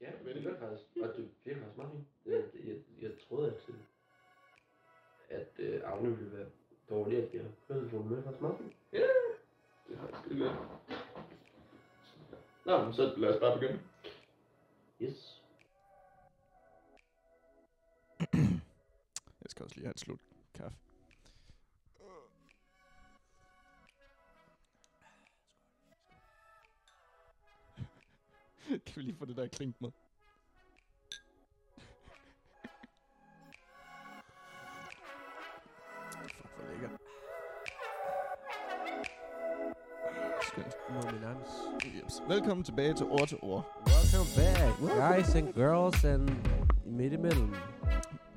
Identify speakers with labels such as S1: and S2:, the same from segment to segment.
S1: Ja,
S2: Men det gør faktisk. Og det virker faktisk meget fint. Øh, Jeg, jeg troede, at, øh, at øh, Agne ville være dårlig at gælde. Men det fungerer faktisk meget fint.
S1: det er faktisk skide godt. Nå, men så lad os bare begynde.
S2: Yes.
S3: Jeg skal også lige have et slut kaffe. kan vi lige få det der klink med? Fuck, hvor lækkert. Skønt.
S4: Nominans.
S3: Jeps. Velkommen tilbage til Ord til Ord.
S4: Welcome back, guys and girls and midt imellem.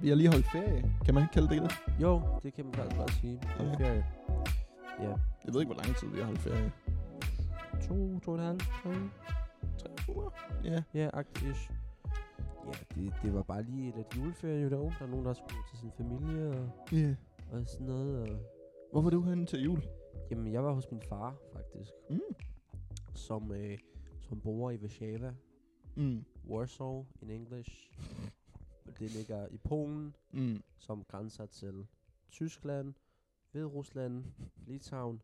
S3: Vi har lige holdt ferie. Kan man ikke kalde det det?
S4: Jo, det kan man faktisk godt sige.
S3: Okay.
S4: Okay. Ferie.
S3: Jeg ved ikke, hvor lang tid vi har holdt ferie.
S4: To, to og en halv, tre.
S3: Tre uger? Ja.
S4: Ja, aktivt. Ja, det, det var bare lige lidt juleferie jo derovre. Der er nogen, der skulle til sin familie og,
S3: Ja.
S4: og sådan noget. Og,
S3: Hvor var du henne til jul?
S4: jamen, jeg var hos min far, faktisk,
S3: Mm.
S4: som, øh, som bor i Warszawa.
S3: Mm.
S4: Warsaw in English. Og det ligger i Polen,
S3: Mm.
S4: som grænser til Tyskland, Hviderusland, Litauen,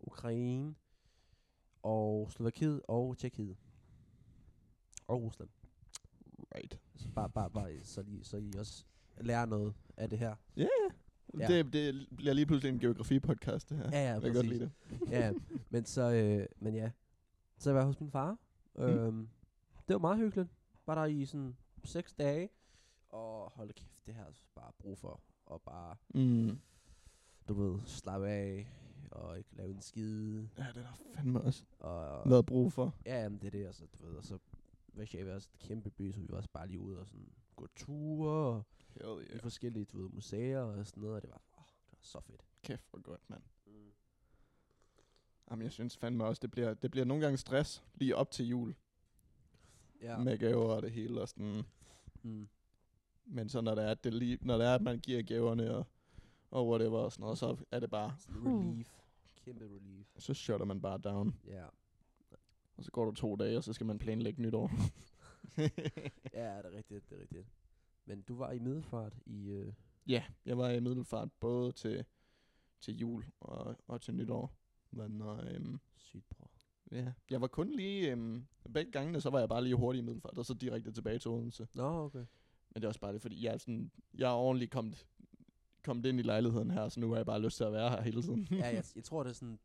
S4: Ukraine og Slovakiet og Tjekkiet. Og Rusland.
S3: Right.
S4: Så bare, bare, bare så, lige, så I også lærer noget af det her.
S3: Ja.
S4: Ja.
S3: Det, det bliver lige pludselig en geografi-podcast, det her.
S4: Ja, ja,
S3: jeg kan godt
S4: præcis.
S3: lide det.
S4: ja, men så, øh, men ja. Så var jeg hos min far. Øhm, det var meget hyggeligt. Var der i sådan seks dage. Og hold da kæft, det har jeg altså bare brug for. Og bare,
S3: Mm.
S4: du ved, slappe af. Og ikke lave en skide.
S3: Ja, det er der fandme også
S4: Og,
S3: været brug for.
S4: Ja, jamen, det er det, altså, du ved, og så Warszawa er også et kæmpe by, så vi var også bare lige ude og sådan gå ture og
S3: Hell
S4: yeah. i forskellige, du ved, museer og sådan noget, og det var, åh, det var så fedt.
S3: Kæft, hvor godt, mand. Jamen, jeg synes fandme også, det bliver, det bliver nogle gange stress lige op til jul ja.
S4: Ja.
S3: med gaver og det hele og sådan.
S4: Mm.
S3: Men så når det er, at, det lige, når det er, at man giver gaverne og, og whatever og sådan noget, så er det bare,
S4: Sådan relief. Kæmpe relief.
S3: så shutter man bare down.
S4: Ja.
S3: Og så går du to dage, og så skal man planlægge nytår.
S4: Ja, det er rigtigt, det er rigtigt. Men du var i middelfart i, øh,
S3: Ja, jeg var i middelfart både til, til jul og, og til nytår. Men og, øhm,
S4: sygt bror.
S3: ja, jeg var kun lige, øhm, begge gangene, så var jeg bare lige hurtig i middelfart, og så direkte tilbage til Odense.
S4: Nå, okay.
S3: Men det er også bare det, fordi jeg er, sådan, jeg er ordentligt kommet, kommet ind i lejligheden her, så nu har jeg bare lyst til at være her hele tiden.
S4: ja, jeg, jeg tror, det er sådan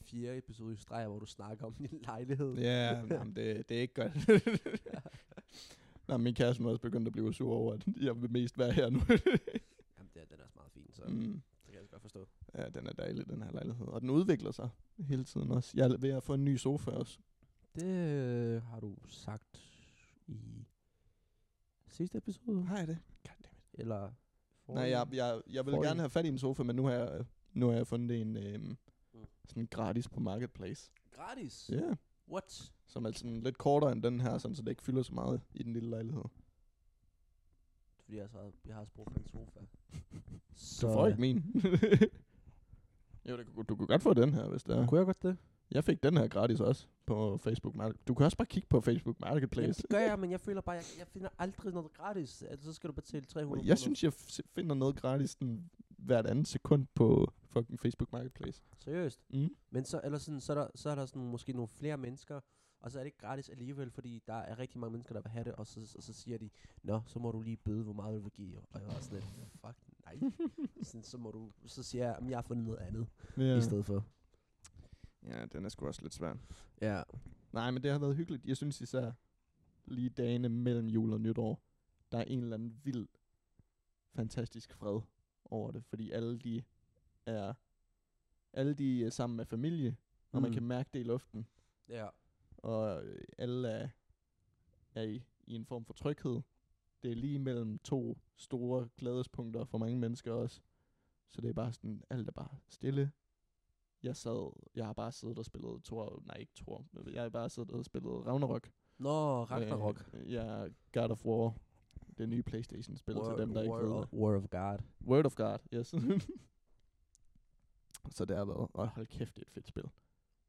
S4: fire episode i streg, hvor du snakker om din lejlighed.
S3: Ja, jamen, det, det er ikke godt. Nå, min kæreste er også begyndt at blive sur over, at jeg vil mest være her nu.
S4: Jamen, det, er- den er også meget fin, så mm.
S3: mm.
S4: det kan jeg godt forstå.
S3: Ja, den er dejlig, den her lejlighed. Og den udvikler sig hele tiden også. Jeg er ved at få en ny sofa også.
S4: Det øh, har du sagt i sidste episode,
S3: Har jeg det?
S4: eller
S3: Nej, jeg, jeg, jeg vil
S4: Forrige.
S3: gerne have fat i en sofa, men nu har jeg, nu har jeg fundet en øhm,
S4: Mm.
S3: sådan gratis på Marketplace.
S4: Gratis?
S3: Ja, yeah.
S4: What?
S3: som er sådan lidt kortere end den her, sådan, så det ikke fylder så meget i den lille lejlighed.
S4: Fordi jeg, så har, jeg har også brug for en sofa.
S3: Du
S4: Så øh,
S3: får ikke min. jo, det, kunne- du kunne godt få den her, hvis det er.
S4: Kunne jeg godt det?
S3: Jeg fik den her gratis også på Facebook Market. Du kan også bare kigge på Facebook
S4: Jamen,
S3: Marketplace.
S4: det gør jeg, men jeg føler bare, jeg, jeg finder aldrig noget gratis. Altså, så skal du betale 300
S3: Og jeg synes, jeg f- finder noget gratis den hvert andet sekund på fucking Facebook Marketplace.
S4: Seriøst.
S3: Mm.
S4: Men så, eller sådan, så, er der, så er der sådan, måske nogle flere mennesker, og så er det ikke gratis alligevel, fordi der er rigtig mange mennesker, der vil have det, og så, og så siger de, Nå, så må du lige bøde, hvor meget du vil give. Og jeg var sådan lidt, fuck nej. sådan, så, må du, så siger jeg, at jeg har fundet noget andet ja. i stedet for.
S3: ja, den er sgu også lidt svær.
S4: Ja.
S3: Nej, men det har været hyggeligt. Jeg synes især lige dagene mellem jul og nytår, der er en eller anden vild, fantastisk fred over det, fordi alle de er, alle de er sammen med familie, og man
S4: Mm.
S3: kan mærke det i luften,
S4: Ja.
S3: og øh, alle er, er i, i en form for tryghed. Det er lige mellem to store glædespunkter for mange mennesker også. Så det er bare sådan, alt er bare stille. Jeg sad, jeg har bare siddet og spillet Thor, nej ikke Thor, jeg har bare siddet og spillet Ragnarok.
S4: Nå, Ragnarok.
S3: Øh, ja, God of War. Det nye Playstation-spil til dem, der ikke ved
S4: War,
S3: det.
S4: War of God.
S3: Word of God, yes. så det har været, og hold kæft, det er et fedt spil.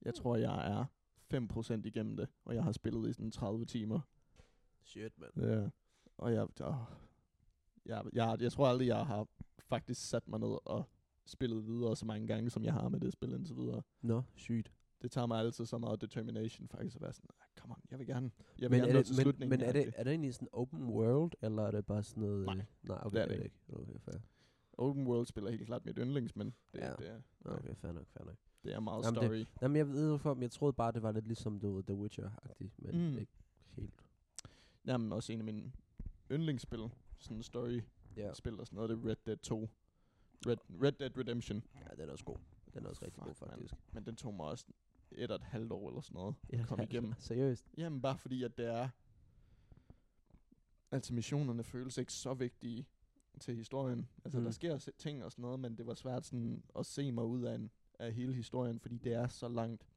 S3: Jeg tror, jeg er 5% igennem det, og jeg har spillet i sådan 30 timer.
S4: Shit, mand.
S3: Ja. Og jeg, åh, jeg, jeg, jeg tror aldrig, jeg har faktisk sat mig ned og spillet videre så mange gange, som jeg har med det spil indtil videre.
S4: Nå, sygt.
S3: Det tager mig altid så meget determination faktisk at være sådan, "Ah, come on, jeg vil gerne,
S4: Men,
S3: jeg vil men gerne
S4: er
S3: nå
S4: det,
S3: til
S4: men,
S3: slutningen.
S4: men er, det,
S3: agtigt."
S4: er det egentlig sådan open world, eller er det bare sådan noget...
S3: Nej,
S4: øh, nej okay,
S3: det er det
S4: ikke. Okay, fair.
S3: Open world spiller helt klart mit yndlings, men det,
S4: Ja.
S3: ja. det, er,
S4: Nå,
S3: Nej.
S4: Okay, fair nok, fair nok.
S3: det er meget
S4: Jamen, det-
S3: story.
S4: Jamen, jeg ved for, men jeg troede bare, det var lidt ligesom du, ved, The Witcher-agtigt, men
S3: Mm.
S4: mm. ikke helt.
S3: Jamen også en af mine yndlingsspil, sådan story-spil
S4: Ja.
S3: og sådan noget, det er Red Dead 2. Red, Red Dead Redemption.
S4: ja, den er også god. Den er også rigtig god,
S3: Fuck, mand.
S4: faktisk.
S3: Men den tog mig også et og et halvt år eller sådan noget.
S4: Ja,
S3: at komme
S4: altså,
S3: igennem.
S4: Seriøst.
S3: Jamen bare fordi, at det er... Altså missionerne føles ikke så vigtige til historien. Altså mm.
S4: Mm.
S3: der sker s- ting og sådan noget, men det var svært sådan at se mig ud af, en, af hele historien, fordi det er så langt.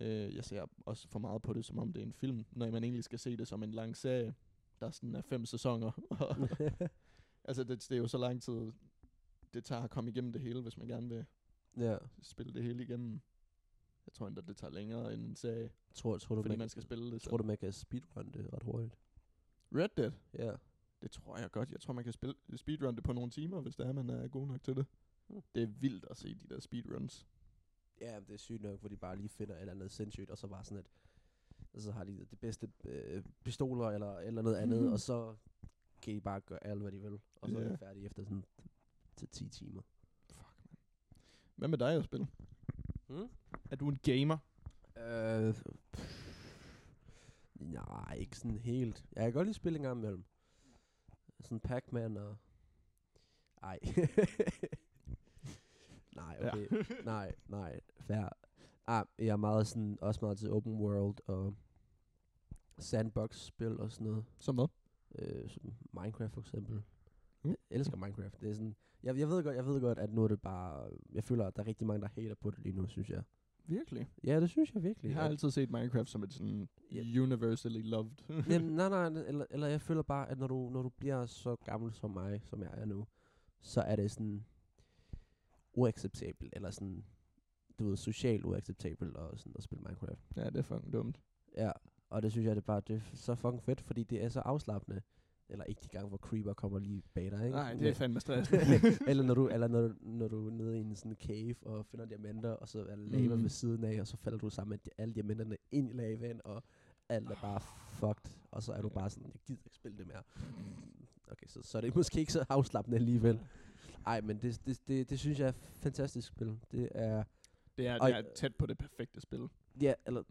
S3: Øh, jeg ser også for meget på det, som om det er en film, når man egentlig skal se det som en lang serie, der sådan er fem sæsoner. altså det, det er jo så lang tid, det tager at komme igennem det hele, hvis man gerne vil
S4: ja.
S3: spille det hele igennem. Jeg tror endda, det tager længere end en serie,
S4: Tror, tror du,
S3: fordi
S4: man,
S3: man skal spille det.
S4: tror
S3: selv.
S4: du, man kan speedrun det ret hurtigt?
S3: Red Dead?
S4: Ja.
S3: Det tror jeg godt. Jeg tror, man kan spille speedrun det på nogle timer, hvis det er, man er god nok til det.
S4: Mm.
S3: Det er vildt at se de der speedruns.
S4: Ja, men det er sygt nok, hvor de bare lige finder et eller andet sindssygt, og så bare sådan et, og så har de det bedste øh, pistoler eller et eller noget andet, og så kan de bare gøre alt, hvad de vil, og så er
S3: Ja.
S4: de færdige efter sådan til 10 timer.
S3: Fuck, man. Hvad med dig at spille?
S4: Hmm?
S3: Er du en gamer?
S4: Øh, pff, nej, ikke sådan helt. Jeg kan godt lige spille en gang imellem. Sådan Pac-Man og... Ej. nej, okay. nej, nej, fair. Ah, jeg er meget sådan, også meget til open world og sandbox-spil og sådan noget.
S3: Som hvad?
S4: Øh, som Minecraft for eksempel.
S3: Mm.
S4: Jeg elsker Minecraft. Det er sådan, jeg, jeg, ved godt, jeg ved godt, at nu er det bare... Jeg føler, at der er rigtig mange, der hater på det lige nu, synes jeg.
S3: Virkelig?
S4: Ja, det synes jeg virkelig.
S3: Jeg har
S4: at-
S3: altid set Minecraft som et sådan
S4: Ja.
S3: universally loved.
S4: Jamen, nej, nej, nej, eller, eller jeg føler bare, at når du, når du bliver så gammel som mig, som jeg er nu, så er det sådan uacceptabelt, eller sådan, du ved, socialt uacceptabelt at, sådan, at spille Minecraft.
S3: ja, det er fucking dumt.
S4: Ja, og det synes jeg, det er bare det er f- så fucking fedt, fordi det er så afslappende. Eller ikke de gange, hvor creeper kommer lige bag dig, ikke?
S3: Nej, det er fandme stress.
S4: eller når du, eller når, du- når du er nede i en sådan cave og finder diamanter, og så er der lava
S3: Mm.
S4: ved siden af, og så falder du sammen med di- alle diamanterne ind i lavaen, og alt er bare fucked, og så er du bare sådan, jeg gider ikke spille det mere. Okay, så, så er det måske ikke så afslappende alligevel. Ej, men det, det, det, det synes jeg er et fantastisk spil. Det er,
S3: det, er,
S4: Og-
S3: det er tæt på det perfekte spil.
S4: ja, eller,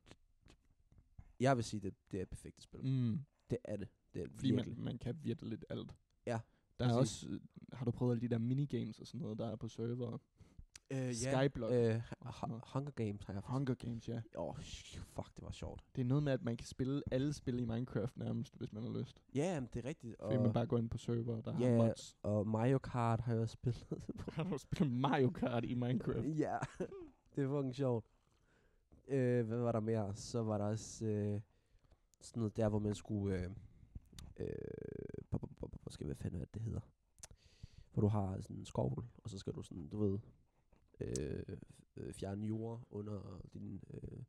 S4: jeg vil sige, det, det er et perfekt spil. Mm.
S3: Mm.
S4: Det er det. Det er
S3: Fordi man,
S4: virkelig.
S3: man kan virkelig lidt alt.
S4: Ja,
S3: Der er
S4: præcis.
S3: også, øh, har du prøvet alle de der minigames og sådan noget, der er på server?
S4: øh,
S3: Skyblock
S4: Øh,
S3: og
S4: Hu-
S3: sådan noget.
S4: Hunger Games har jeg faktisk.
S3: Hunger Games, ja.
S4: Åh, oh, fuck, det var sjovt.
S3: Det er noget med, at man kan spille alle spil i Minecraft nærmest, hvis man har lyst.
S4: Ja, jamen, det er rigtigt.
S3: Fordi man bare går ind på server, der
S4: Ja.
S3: har mods.
S4: og Mario Kart har jeg også spillet på.
S3: Har du spillet Mario Kart i Minecraft?
S4: ja, det er fucking sjovt. Øh, hvad var der mere? Så var der også øh, sådan noget der, hvor man skulle... Øh, øh, bu- bu- bu- bu- bu- skal jeg finde, hvad det hedder. Hvor du har sådan en skovl, og så skal du sådan, du ved, øh, øh, fjerne jord under din, øh,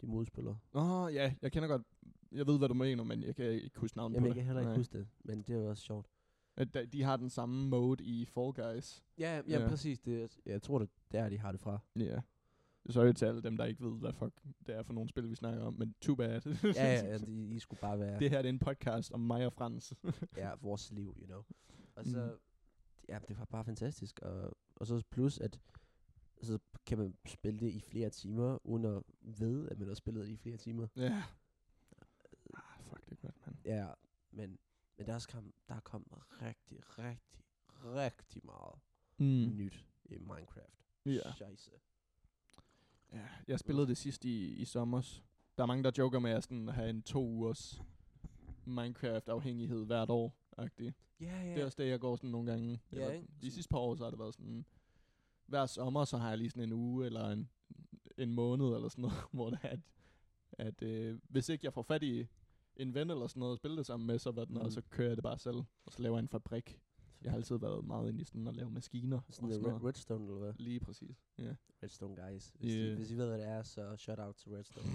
S4: din modspiller.
S3: Åh, oh, ja, jeg kender godt... Jeg ved, hvad du mener, men jeg kan ikke huske navnet
S4: Jamen, jeg
S3: på
S4: kan
S3: det.
S4: heller ikke
S3: Nej.
S4: huske det, men det er jo også sjovt.
S3: At da- De har den samme mode i Fall Guys.
S4: Ja, ja,
S3: Ja.
S4: ja. præcis. Det, er- jeg tror, det er der, de har det fra.
S3: Ja. Yeah. Sorry til alle dem, der ikke ved, hvad fuck det er for nogle spil, vi snakker om, men too bad.
S4: ja, ja, ja, de, I skulle bare være...
S3: Det her det er en podcast om mig og Frans.
S4: ja, vores liv, you know. Og
S3: Mhm.
S4: så, ja, det var bare fantastisk. Og, og så plus, at så kan man spille det i flere timer, uden at vide, at man har spillet det i flere timer.
S3: ja. Ah, fuck, det er godt, mand.
S4: Ja, men, men der, er også kom, der er kommet rigtig, rigtig, rigtig meget mm.
S3: Mm.
S4: nyt i Minecraft.
S3: Ja.
S4: Scheisse.
S3: Ja, jeg spillede det sidst i, i sommers. Der er mange, der joker med at sådan have en to ugers Minecraft-afhængighed hvert år. -agtig.
S4: Ja, ja.
S3: Det er også det, jeg går sådan nogle gange.
S4: Ja,
S3: Eller
S4: ikke?
S3: De
S4: Sådan-
S3: sidste par år, så har det været sådan... Hver sommer, så har jeg lige sådan en uge eller en, en måned eller sådan noget, hvor det er, at, at øh, hvis ikke jeg får fat i en ven eller sådan noget at spille det sammen med, så, hvad den,
S4: Mm.
S3: og så kører jeg det bare selv, og så laver jeg en fabrik. Jeg har altid været meget inde i sådan at lave maskiner og
S4: sådan
S3: sådan
S4: noget
S3: noget.
S4: Red- Redstone, eller hvad?
S3: Lige præcis, ja.
S4: Redstone guys. Hvis, yeah.
S3: Yeah.
S4: I, hvis I ved, hvad det er, så shout out til Redstone.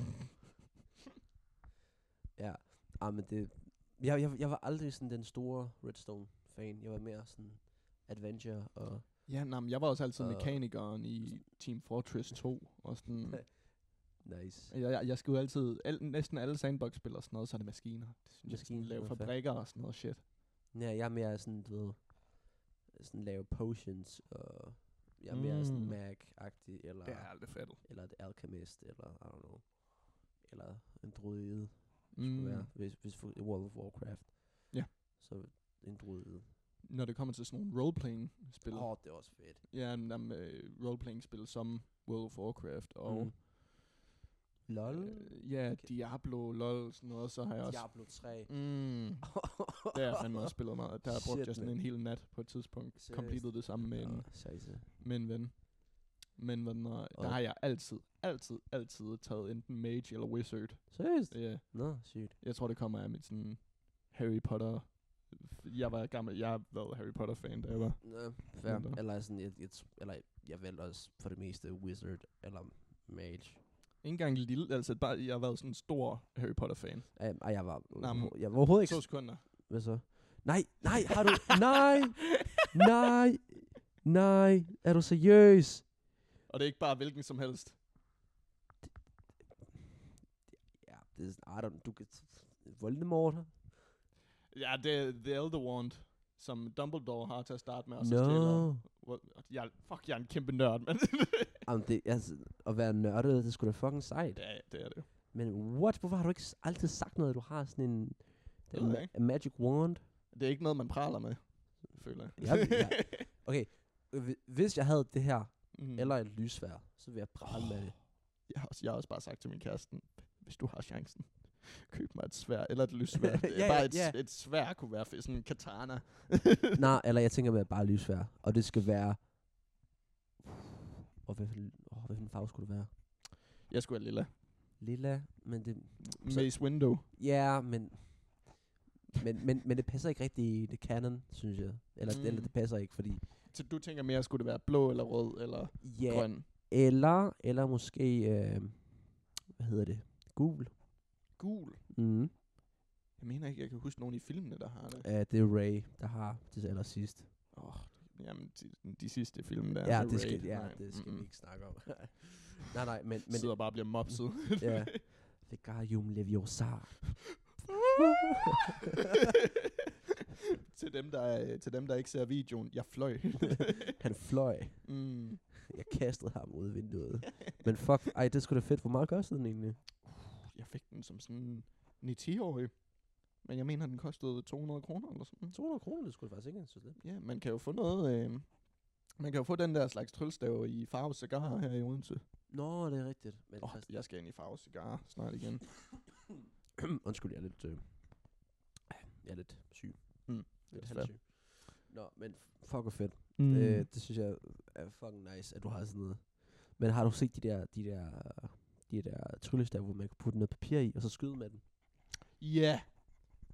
S4: ja. Ah, men det... Jeg, jeg, jeg var aldrig sådan den store Redstone-fan. Jeg var mere sådan adventure og...
S3: Ja, nej, men jeg var også altid
S4: Og-
S3: mekanikeren i Team Fortress 2, og sådan,
S4: Nice.
S3: jeg, jeg, jeg skulle altid, al, næsten alle sandbox-spil og sådan noget, så er det maskiner. Det synes jeg, sådan,
S4: Maskiner,
S3: lave
S4: nå, fair.
S3: fabrikker og sådan noget shit.
S4: Ja, jeg er mere sådan, du ved... Sådan lave potions og... Jeg er mere sådan
S3: Mm.
S4: mag-agtig, eller,
S3: aldrig fedt.
S4: eller et alchemist, eller I don't know. Eller en druide, skulle
S3: Mm.
S4: være, hvis, hvis for i World of Warcraft.
S3: Ja.
S4: Så en druide.
S3: Når det kommer til sådan nogle roleplaying-spil,
S4: Åh,
S3: oh.
S4: oh, det er også fedt.
S3: ja, jamen, øh, roleplaying-spil som World of Warcraft og
S4: Mm. LOL?
S3: Øh, ja,
S4: Okay.
S3: Diablo, LOL, sådan noget, så har jeg også...
S4: Diablo 3.
S3: Mm, der har jeg fandme også spillet meget. Der har brugt
S4: Shit,
S3: jeg sådan
S4: mand.
S3: en hel nat på et tidspunkt.
S4: Seriøst?
S3: Completed det samme med en,
S4: Åh, scheisse.
S3: med en ven. Men hvad den er, der
S4: Og-
S3: har jeg altid, altid, altid taget enten mage eller wizard.
S4: Seriøst?
S3: Ja,
S4: Nå, sygt.
S3: jeg tror, det kommer af mit sådan Harry Potter... Jeg var gammel, jeg har været Harry Potter-fan, da jeg var.
S4: Nå, fair.
S3: da.
S4: Eller sådan, et, et, eller jeg valgte også for det meste wizard eller mage.
S3: Ikke engang lille, altså bare, jeg har været sådan en stor Harry Potter-fan.
S4: Ej, ej, jeg var,
S3: Nej, men-
S4: jeg var overhovedet ikke...
S3: To sekunder.
S4: Hvad så? Nej, nej, har du... nej, nej, nej, er du seriøs?
S3: Og det er ikke bare hvilken som helst.
S4: Ja, det er sådan, I don't, du kan... Voldemort?
S3: Ja, det er The Elder Wand, som Dumbledore har til at starte med, og så stjæler.
S4: No.
S3: Hvor- Jeg, fuck, jeg er en kæmpe nørd, men
S4: Jamen, det, altså, at være nørdet, det skulle da fucking sejt.
S3: ja, det er det.
S4: Men what? Hvorfor har du ikke s- aldrig sagt noget, at du har sådan en...
S3: ved
S4: Den
S3: jeg
S4: ma- magic wand?
S3: Det er ikke noget, man praler med, føler jeg.
S4: Jeg, jeg, okay, hvi- hvis jeg havde det her,
S3: Mm.
S4: eller et lysvær, så ville jeg prale med det.
S3: Jeg har, også, jeg har også bare sagt til min kæreste, hvis du har chancen, køb mig et svær, eller et lysvær. Det er
S4: Ja,
S3: bare
S4: ja,
S3: et,
S4: ja.
S3: et svær kunne være fedt, sådan en katana.
S4: Nej, eller jeg tænker med bare lysvær, og det skal være... Og hvad for, oh, hvad for en farve skulle det være?
S3: Jeg skulle have lilla.
S4: Lilla, men det... Så-
S3: Maze Window.
S4: Ja, men... Men, men, men det passer ikke rigtig i det canon, synes jeg. Eller, mm. eller
S3: Mm.
S4: det passer ikke, fordi...
S3: Så du tænker mere, skulle det være blå eller rød eller
S4: Ja,
S3: grøn?
S4: eller, eller måske... Øh, hvad hedder det? Gul.
S3: Gul.
S4: Mm.
S3: Jeg mener ikke, jeg kan huske nogen i filmene, der har det.
S4: Uh, det er Ray, der har det til allersidst.
S3: Oh, jamen, de, de sidste film der.
S4: Ja,
S3: med
S4: det
S3: Raid,
S4: skal, ja,
S3: nej,
S4: det skal vi
S3: mm-mm.
S4: ikke snakke om. nej, nej, men... men
S3: Sidder bare og bliver mopset.
S4: ja. Vegarium Leviosa.
S3: til, dem, der, øh, til dem, der ikke ser videoen, jeg fløj.
S4: Han fløj.
S3: mm.
S4: Jeg kastede ham ud af vinduet. men fuck, ej, det skulle da fedt. Hvor meget kostede den egentlig?
S3: Jeg fik den som sådan en 10-årig. Men jeg mener, den kostede 200 kroner eller sådan.
S4: 200 kroner, det skulle faktisk ikke så lidt.
S3: Ja, man kan jo få noget... Øh, man kan jo få den der slags tryllestave i farve cigarer her i Odense.
S4: Nå, det er rigtigt. Men
S3: Oh, jeg skal ind i farve cigarer snart igen.
S4: Undskyld, jeg er lidt... Øh, jeg er lidt syg.
S3: Mm,
S4: Hmm. Lidt
S3: er svært.
S4: halvsyg. Nå, men fuck hvor fedt.
S3: Mm.
S4: Mm. Øh, det synes jeg er fucking nice, at du har sådan noget. Men har du set de der, de der, de der tryllestav, hvor man kan putte noget papir i, og så skyde med den?
S3: Ja,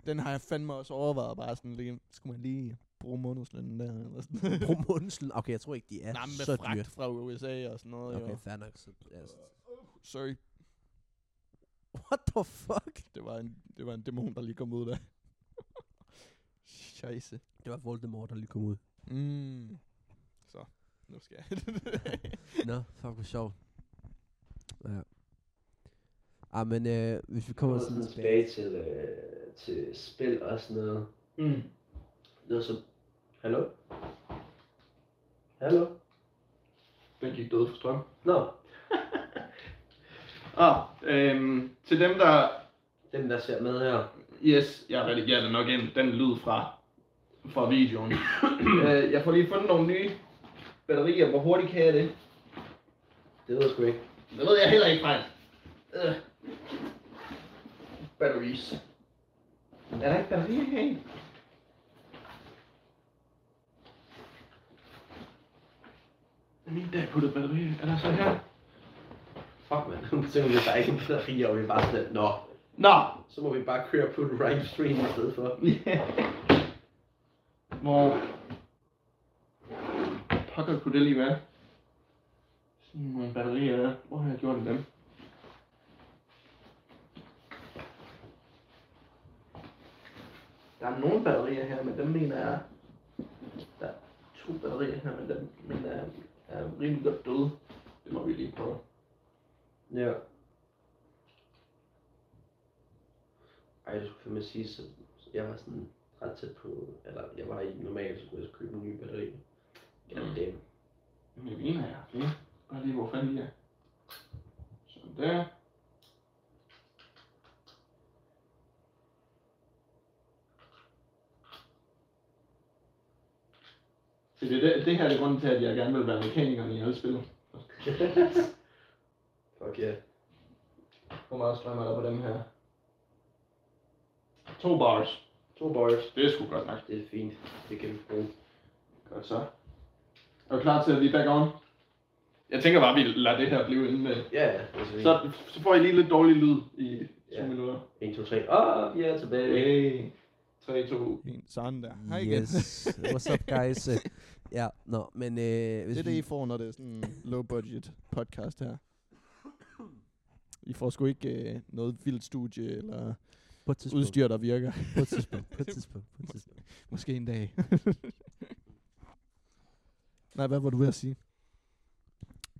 S3: den har jeg fandme også overvejet bare sådan lige, skulle man lige bruge månedslønnen der eller sådan
S4: Bro Mundsel. Okay, jeg tror ikke, de er
S3: Nej, men
S4: så
S3: med
S4: dyre.
S3: fragt fra USA og sådan noget okay.
S4: Okay,
S3: jo.
S4: fair nok. Så, altså.
S3: Sorry,
S4: What the fuck?
S3: det var, en, det var en dæmon, der lige kom ud der. Scheisse.
S4: Det var Voldemort, der lige kom ud.
S3: Mm. Så, nu skal jeg.
S4: Nå, fuck, hvor sjovt. Ja. Ah, men øh, hvis vi kommer
S2: kommer
S4: sådan
S2: sådan
S4: tilbage.
S2: tilbage til, øh, til spil og sådan noget. Mm. Det var så... Hallo? Hallo?
S1: Den gik død for strøm.
S2: Nå,
S1: Ah, øhm, til dem der...
S2: dem der ser med her.
S1: Yes, jeg redigerer det nok ind. Den lyd fra, fra videoen. øh, jeg får lige fundet nogle nye batterier. Hvor hurtigt kan jeg det?
S2: Det ved jeg sgu ikke.
S1: Det ved jeg heller ikke, Frank. Øh. Batteries. Er der ikke batterier her i? Det er min dag puttet batterier. Er der så her?
S2: Fuck, man. Nu tænker vi, at der ikke er batterier, og vi er bare sådan, nå.
S1: Nå!
S2: Så må vi bare køre på en right stream i stedet for.
S1: Hvor... Pokker kunne det lige være? Sådan nogle batterier der. Hvor har jeg gjort af dem? Der er nogle batterier her, men dem mener jeg... Der er to batterier her, men dem mener jeg er rimelig godt døde. Det må vi lige prøve.
S2: Ja. Ej, jeg skulle fandme sige, så så jeg var sådan ret tæt på, eller jeg var i normalt, så skulle jeg købe en ny batteri. Ja,
S1: Mm.
S2: det
S1: Med vin her, okay. Og lige hvor fanden de er. Sådan der. Så det, er det, det her er grunden til, at jeg gerne vil være mekaniker i alle spil.
S2: Fuck ja.
S1: Hvor meget strøm er der på dem her? To bars.
S2: To bars.
S1: Det er sgu godt nok.
S2: Det er fint. Det kan vi bruge.
S1: Godt så. Er du klar til at vi er back on? Jeg tænker bare, at vi lader det her blive inde med.
S2: Ja, ja. Det er fint.
S1: Så, så får I lige lidt dårlig lyd i to
S2: Ja.
S1: minutter.
S2: 1, 2, 3. Åh, vi er tilbage.
S1: Hey. 3, 2,
S3: En sådan der. Hej igen.
S4: Yes. What's up, guys? Øh, ja, nå, men... Øh, hvis
S3: Det er det,
S4: vi-
S3: I får, når det er sådan en low-budget podcast her. I får sgu ikke øh, noget vildt studie eller
S4: På et tidspunkt.
S3: udstyr, der virker.
S4: På et tidspunkt. På et tidspunkt. På et tidspunkt.
S3: Måske en dag. Nej, hvad var du ved at sige?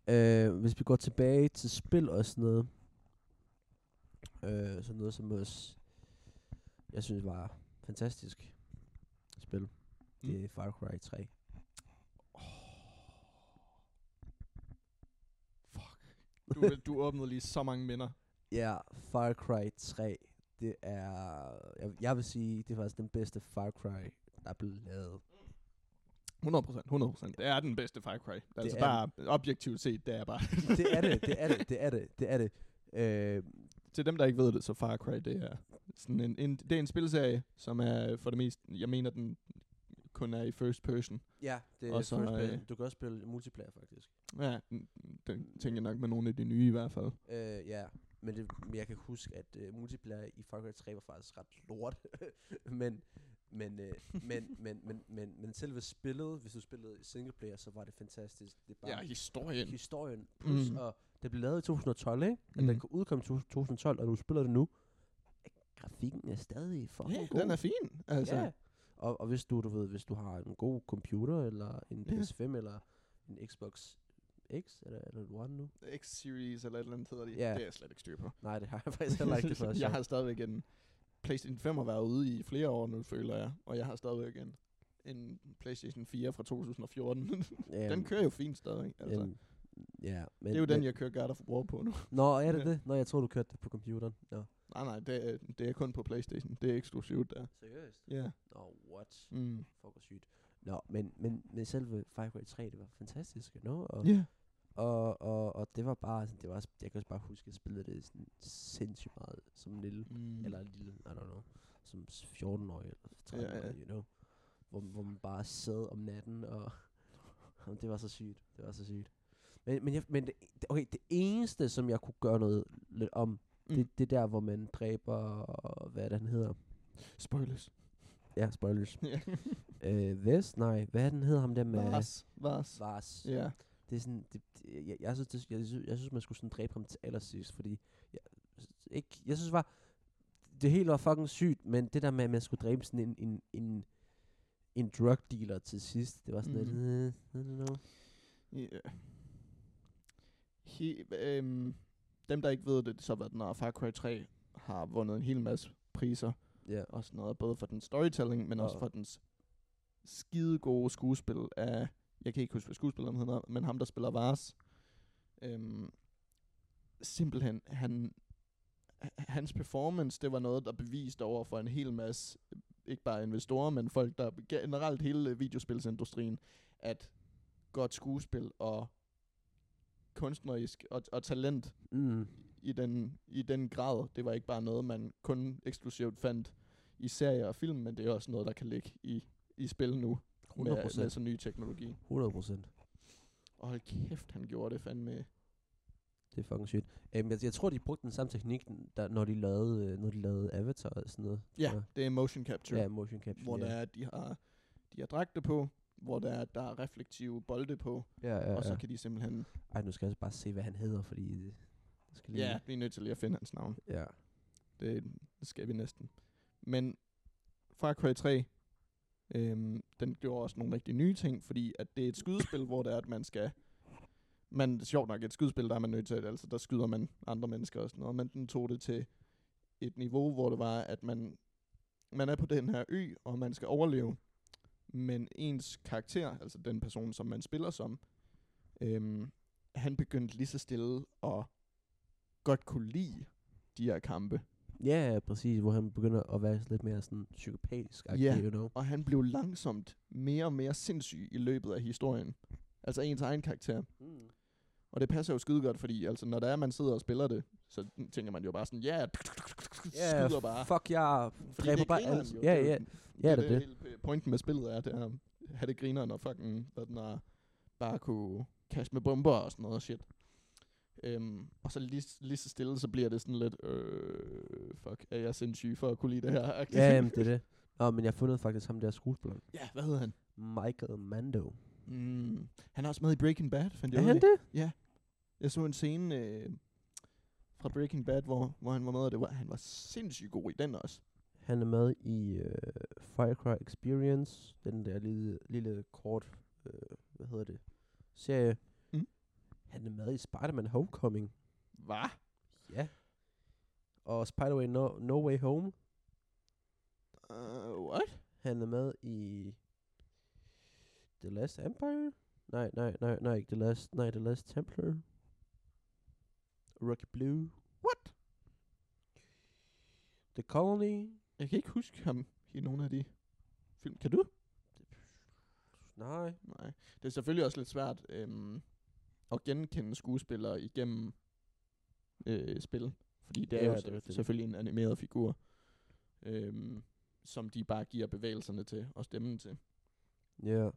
S4: Øh, hvis vi går tilbage til spil og sådan noget, øh, sådan noget som også, jeg synes var fantastisk spil, mm. det er Far Cry 3.
S3: Du, du åbnede lige så mange minder.
S4: Ja, Far Cry 3, det er, jeg, jeg vil sige, det er faktisk den bedste Far Cry, der er blevet lavet.
S3: 100%, 100%. Det er den bedste Far Cry. Det er altså
S4: er
S3: bare objektivt set, det er bare...
S4: det er det, det er det, det er det, det er det. Øh,
S3: Til dem, der ikke ved det, så Far Cry, det er sådan en, en, det er en spilserie, som er for det meste... Jeg mener, den kun er i first person.
S4: ja, det er
S3: Og så,
S4: first person.
S3: øh,
S4: Du kan også spille multiplayer faktisk.
S3: Ja, den- den tænker jeg nok med nogle af de nye i hvert fald.
S4: Øh, ja, men, det, men jeg kan huske, at øh, multiplayer i Far Cry 3 var faktisk ret lort. men, men, øh, men, men, men, men, men selve spillet, hvis du spillede i singleplayer, så var det fantastisk. Det er
S3: Ja,
S4: bare
S3: historien.
S4: historien. Plus,
S3: Mm.
S4: mm. og det blev lavet i 2012, ikke? Og mm.
S3: Mm.
S4: den kunne udkomme i 2012, og nu spiller det nu. Grafikken er stadig fucking
S3: Ja,
S4: god.
S3: den er fin. Altså,
S4: Ja. Og, og hvis du, du ved, hvis du har en god computer, eller en
S3: Ja.
S4: PS5, eller en Xbox X, eller, eller en One nu?
S3: X-Series eller et eller andet hedder det.
S4: Ja.
S3: Det er jeg slet ikke styr på.
S4: Nej, det har jeg faktisk heller ikke det for
S3: jeg har stadigvæk en PlayStation 5 har været ude i flere år nu, føler jeg. Og jeg har stadigvæk en, en PlayStation 4 fra 2014. den kører jo fint stadig. Altså.
S4: Jamen, Øhm, ja, men,
S3: det er jo den,
S4: men,
S3: jeg kører God of War på nu.
S4: Nå, er det
S3: Ja.
S4: det? Nå, jeg tror du kørte det på computeren. Nå.
S3: nej, nej, det er, det er kun på PlayStation. Det er eksklusivt der.
S4: Seriøst?
S3: Ja. Yeah.
S4: Nå, what?
S3: Mm.
S4: Fuck, hvor sygt. Nå, men, men, men selve Far Cry 3, det var fantastisk, you know? Og,
S3: Yeah.
S4: og, og, og det var bare, sådan, det var, jeg kan også bare huske, at jeg spillede det sådan sindssygt meget som lille,
S3: Mm.
S4: mm. eller lille, I don't know, som 14-årig eller 13-årig,
S3: Ja, ja.
S4: you know? Hvor, hvor man bare sad om natten, og Jamen, det var så sygt, det var så sygt. Men, men, jeg, men det, okay, det eneste, som jeg kunne gøre noget lidt om,
S3: Mm.
S4: Det, det er der, hvor man dræber, hvad er det, han hedder?
S3: Spoilers.
S4: Ja, spoilers.
S3: Ja.
S4: Øh, Vest? Nej, hvad er den hedder ham der med?
S3: Vars. Vars.
S4: Vars.
S3: Ja.
S4: Det er sådan, det, det, jeg, jeg, synes, det, jeg, synes, jeg synes, man skulle sådan dræbe ham til allersidst, fordi jeg, ikke, jeg synes bare, det hele var fucking sygt, men det der med, at man skulle dræbe sådan en, en, en, en drug dealer til sidst, det var sådan
S3: Mhm.
S4: lidt, øh, I don't know.
S3: Ja. øh, He, øhm, dem, der ikke ved det, det er så hvad den er, Far Cry 3 har vundet en hel masse priser
S4: Ja,
S3: og sådan noget, både for den storytelling, men også
S4: Og-
S3: for dens skide gode skuespil af, jeg kan ikke huske, hvad skuespilleren hedder, men ham, der spiller Vars, øhm, simpelthen, han, h- hans performance, det var noget, der beviste over for en hel masse, ikke bare investorer, men folk, der generelt hele øh, videospilsindustrien, at godt skuespil og kunstnerisk og, og talent
S4: mm,
S3: i den, i den grad. Det var ikke bare noget, man kun eksklusivt fandt i serier og film, men det er også noget, der kan ligge i, i spil nu med,
S4: 100
S3: med
S4: procent.
S3: sådan ny teknologi.
S4: 100 procent.
S3: Og hold kæft, han gjorde det fandme.
S4: Det er fucking sygt. Øhm, jeg, jeg tror, de brugte den samme teknik, n- der, når, de lavede, øh, når de lavede Avatar og sådan noget.
S3: Ja,
S4: tror jeg.
S3: det er motion capture,
S4: Ja, motion capture.
S3: hvor
S4: ja.
S3: der er, at de har, de har dragter på, hvor der er, der er reflektive bolde på,
S4: Ja, ja,
S3: ja, og så
S4: ja.
S3: ja. kan de simpelthen...
S4: Ej, nu skal jeg altså bare se, hvad han hedder, fordi... øh, Jeg skal lige...
S3: Ja, vi er nødt til lige at finde hans navn.
S4: ja.
S3: Det, det skal vi næsten. Men Far Cry 3, øhm, den gjorde også nogle rigtig nye ting, fordi at det er et skydespil, hvor det er, at man skal... Man, sjovt nok, et skydespil, der er man nødt til, at, altså der skyder man andre mennesker og sådan noget, men den tog det til et niveau, hvor det var, at man, man er på den her ø, og man skal overleve, men ens karakter, altså den person, som man spiller som, øhm, han begyndte lige så stille at godt kunne lide de her kampe.
S4: Ja, præcis, hvor han begynder at være lidt mere sådan psykopatisk,
S3: Ja.
S4: yeah. you know.
S3: og han blev langsomt mere og mere sindssyg i løbet af historien. Altså ens egen karakter.
S4: Mm.
S3: Og det passer jo skide godt, fordi altså, når der er, man sidder og spiller det, så tænker man jo bare sådan, ja, yeah,
S4: Ja,
S3: skyder bare.
S4: fuck, jeg
S3: Fordi
S4: dræber
S3: det
S4: bare
S3: grineren
S4: alle.
S3: jo.
S4: Ja,
S3: Det er jo
S4: ja,
S3: den-
S4: ja, det
S3: det,
S4: er
S3: er
S4: det.
S3: hele p- pointen med spillet er, det er at have det griner, når fucking hvad den er, bare kunne kaste med bomber og sådan noget shit. Øhm, og så lige, s- lige så stille, så bliver det sådan lidt, øh, fuck, er jeg sindssyg for at kunne lide det her?
S4: Ja, jamen, det er det. Nå, men jeg har fundet faktisk ham der skuespiller.
S3: ja, hvad hedder han?
S4: Michael Mando.
S3: Mm, han er også med i Breaking Bad, fandt
S4: Er
S3: jeg ud af.
S4: han det?
S3: Jeg så en scene øh, fra Breaking Bad, hvor, hvor han var med, og det var, han var sindssygt god i den også.
S4: Han er med i øh, Far Cry Experience, den der lille, lille kort, øh, hvad hedder det, serie.
S3: Mm.
S4: Han er med i Spider-Man Homecoming.
S3: Hvad?
S4: Ja. Og Spider-Man no, no Way Home.
S3: Uh, what?
S4: Han er med i The Last Empire? Nej, nej, nej, nej, ikke The Last, nej, The Last Templar. Rocky Blue.
S3: What?
S4: The Colony.
S3: Jeg kan ikke huske ham i nogle af de film. Kan du?
S4: Nej.
S3: Nej. Det er selvfølgelig også lidt svært øhm, at genkende skuespillere igennem øh, spil. Fordi det er
S4: Ja,
S3: jo
S4: det er
S3: det,
S4: rigtigt.
S3: selvfølgelig en animeret figur, øhm, som de bare giver bevægelserne til og stemmen til.
S4: Ja. Yeah.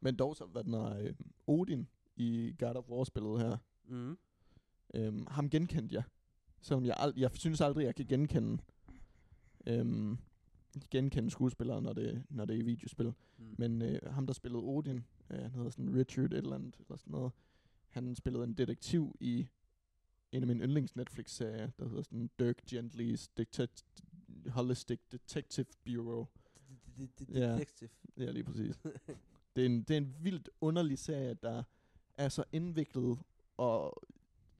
S3: Men dog så, hvad den er, øh, Odin i God of War-spillet her,
S4: Mm.
S3: Øhm, ham genkendte jeg. Selvom jeg, ald- jeg synes aldrig, jeg kan genkende, øhm, genkende skuespillere, når det, når det er i videospil.
S4: Mm.
S3: Men øh, ham, der spillede Odin, øh, han hedder sådan Richard et eller andet, eller sådan noget. Han spillede en detektiv i en af mine yndlings Netflix-serier, der hedder sådan Dirk Gently's Detect- Holistic Detective Bureau. Ja.
S4: Detective.
S3: Ja, lige præcis. det, er en, det er en vildt underlig serie, der er så indviklet og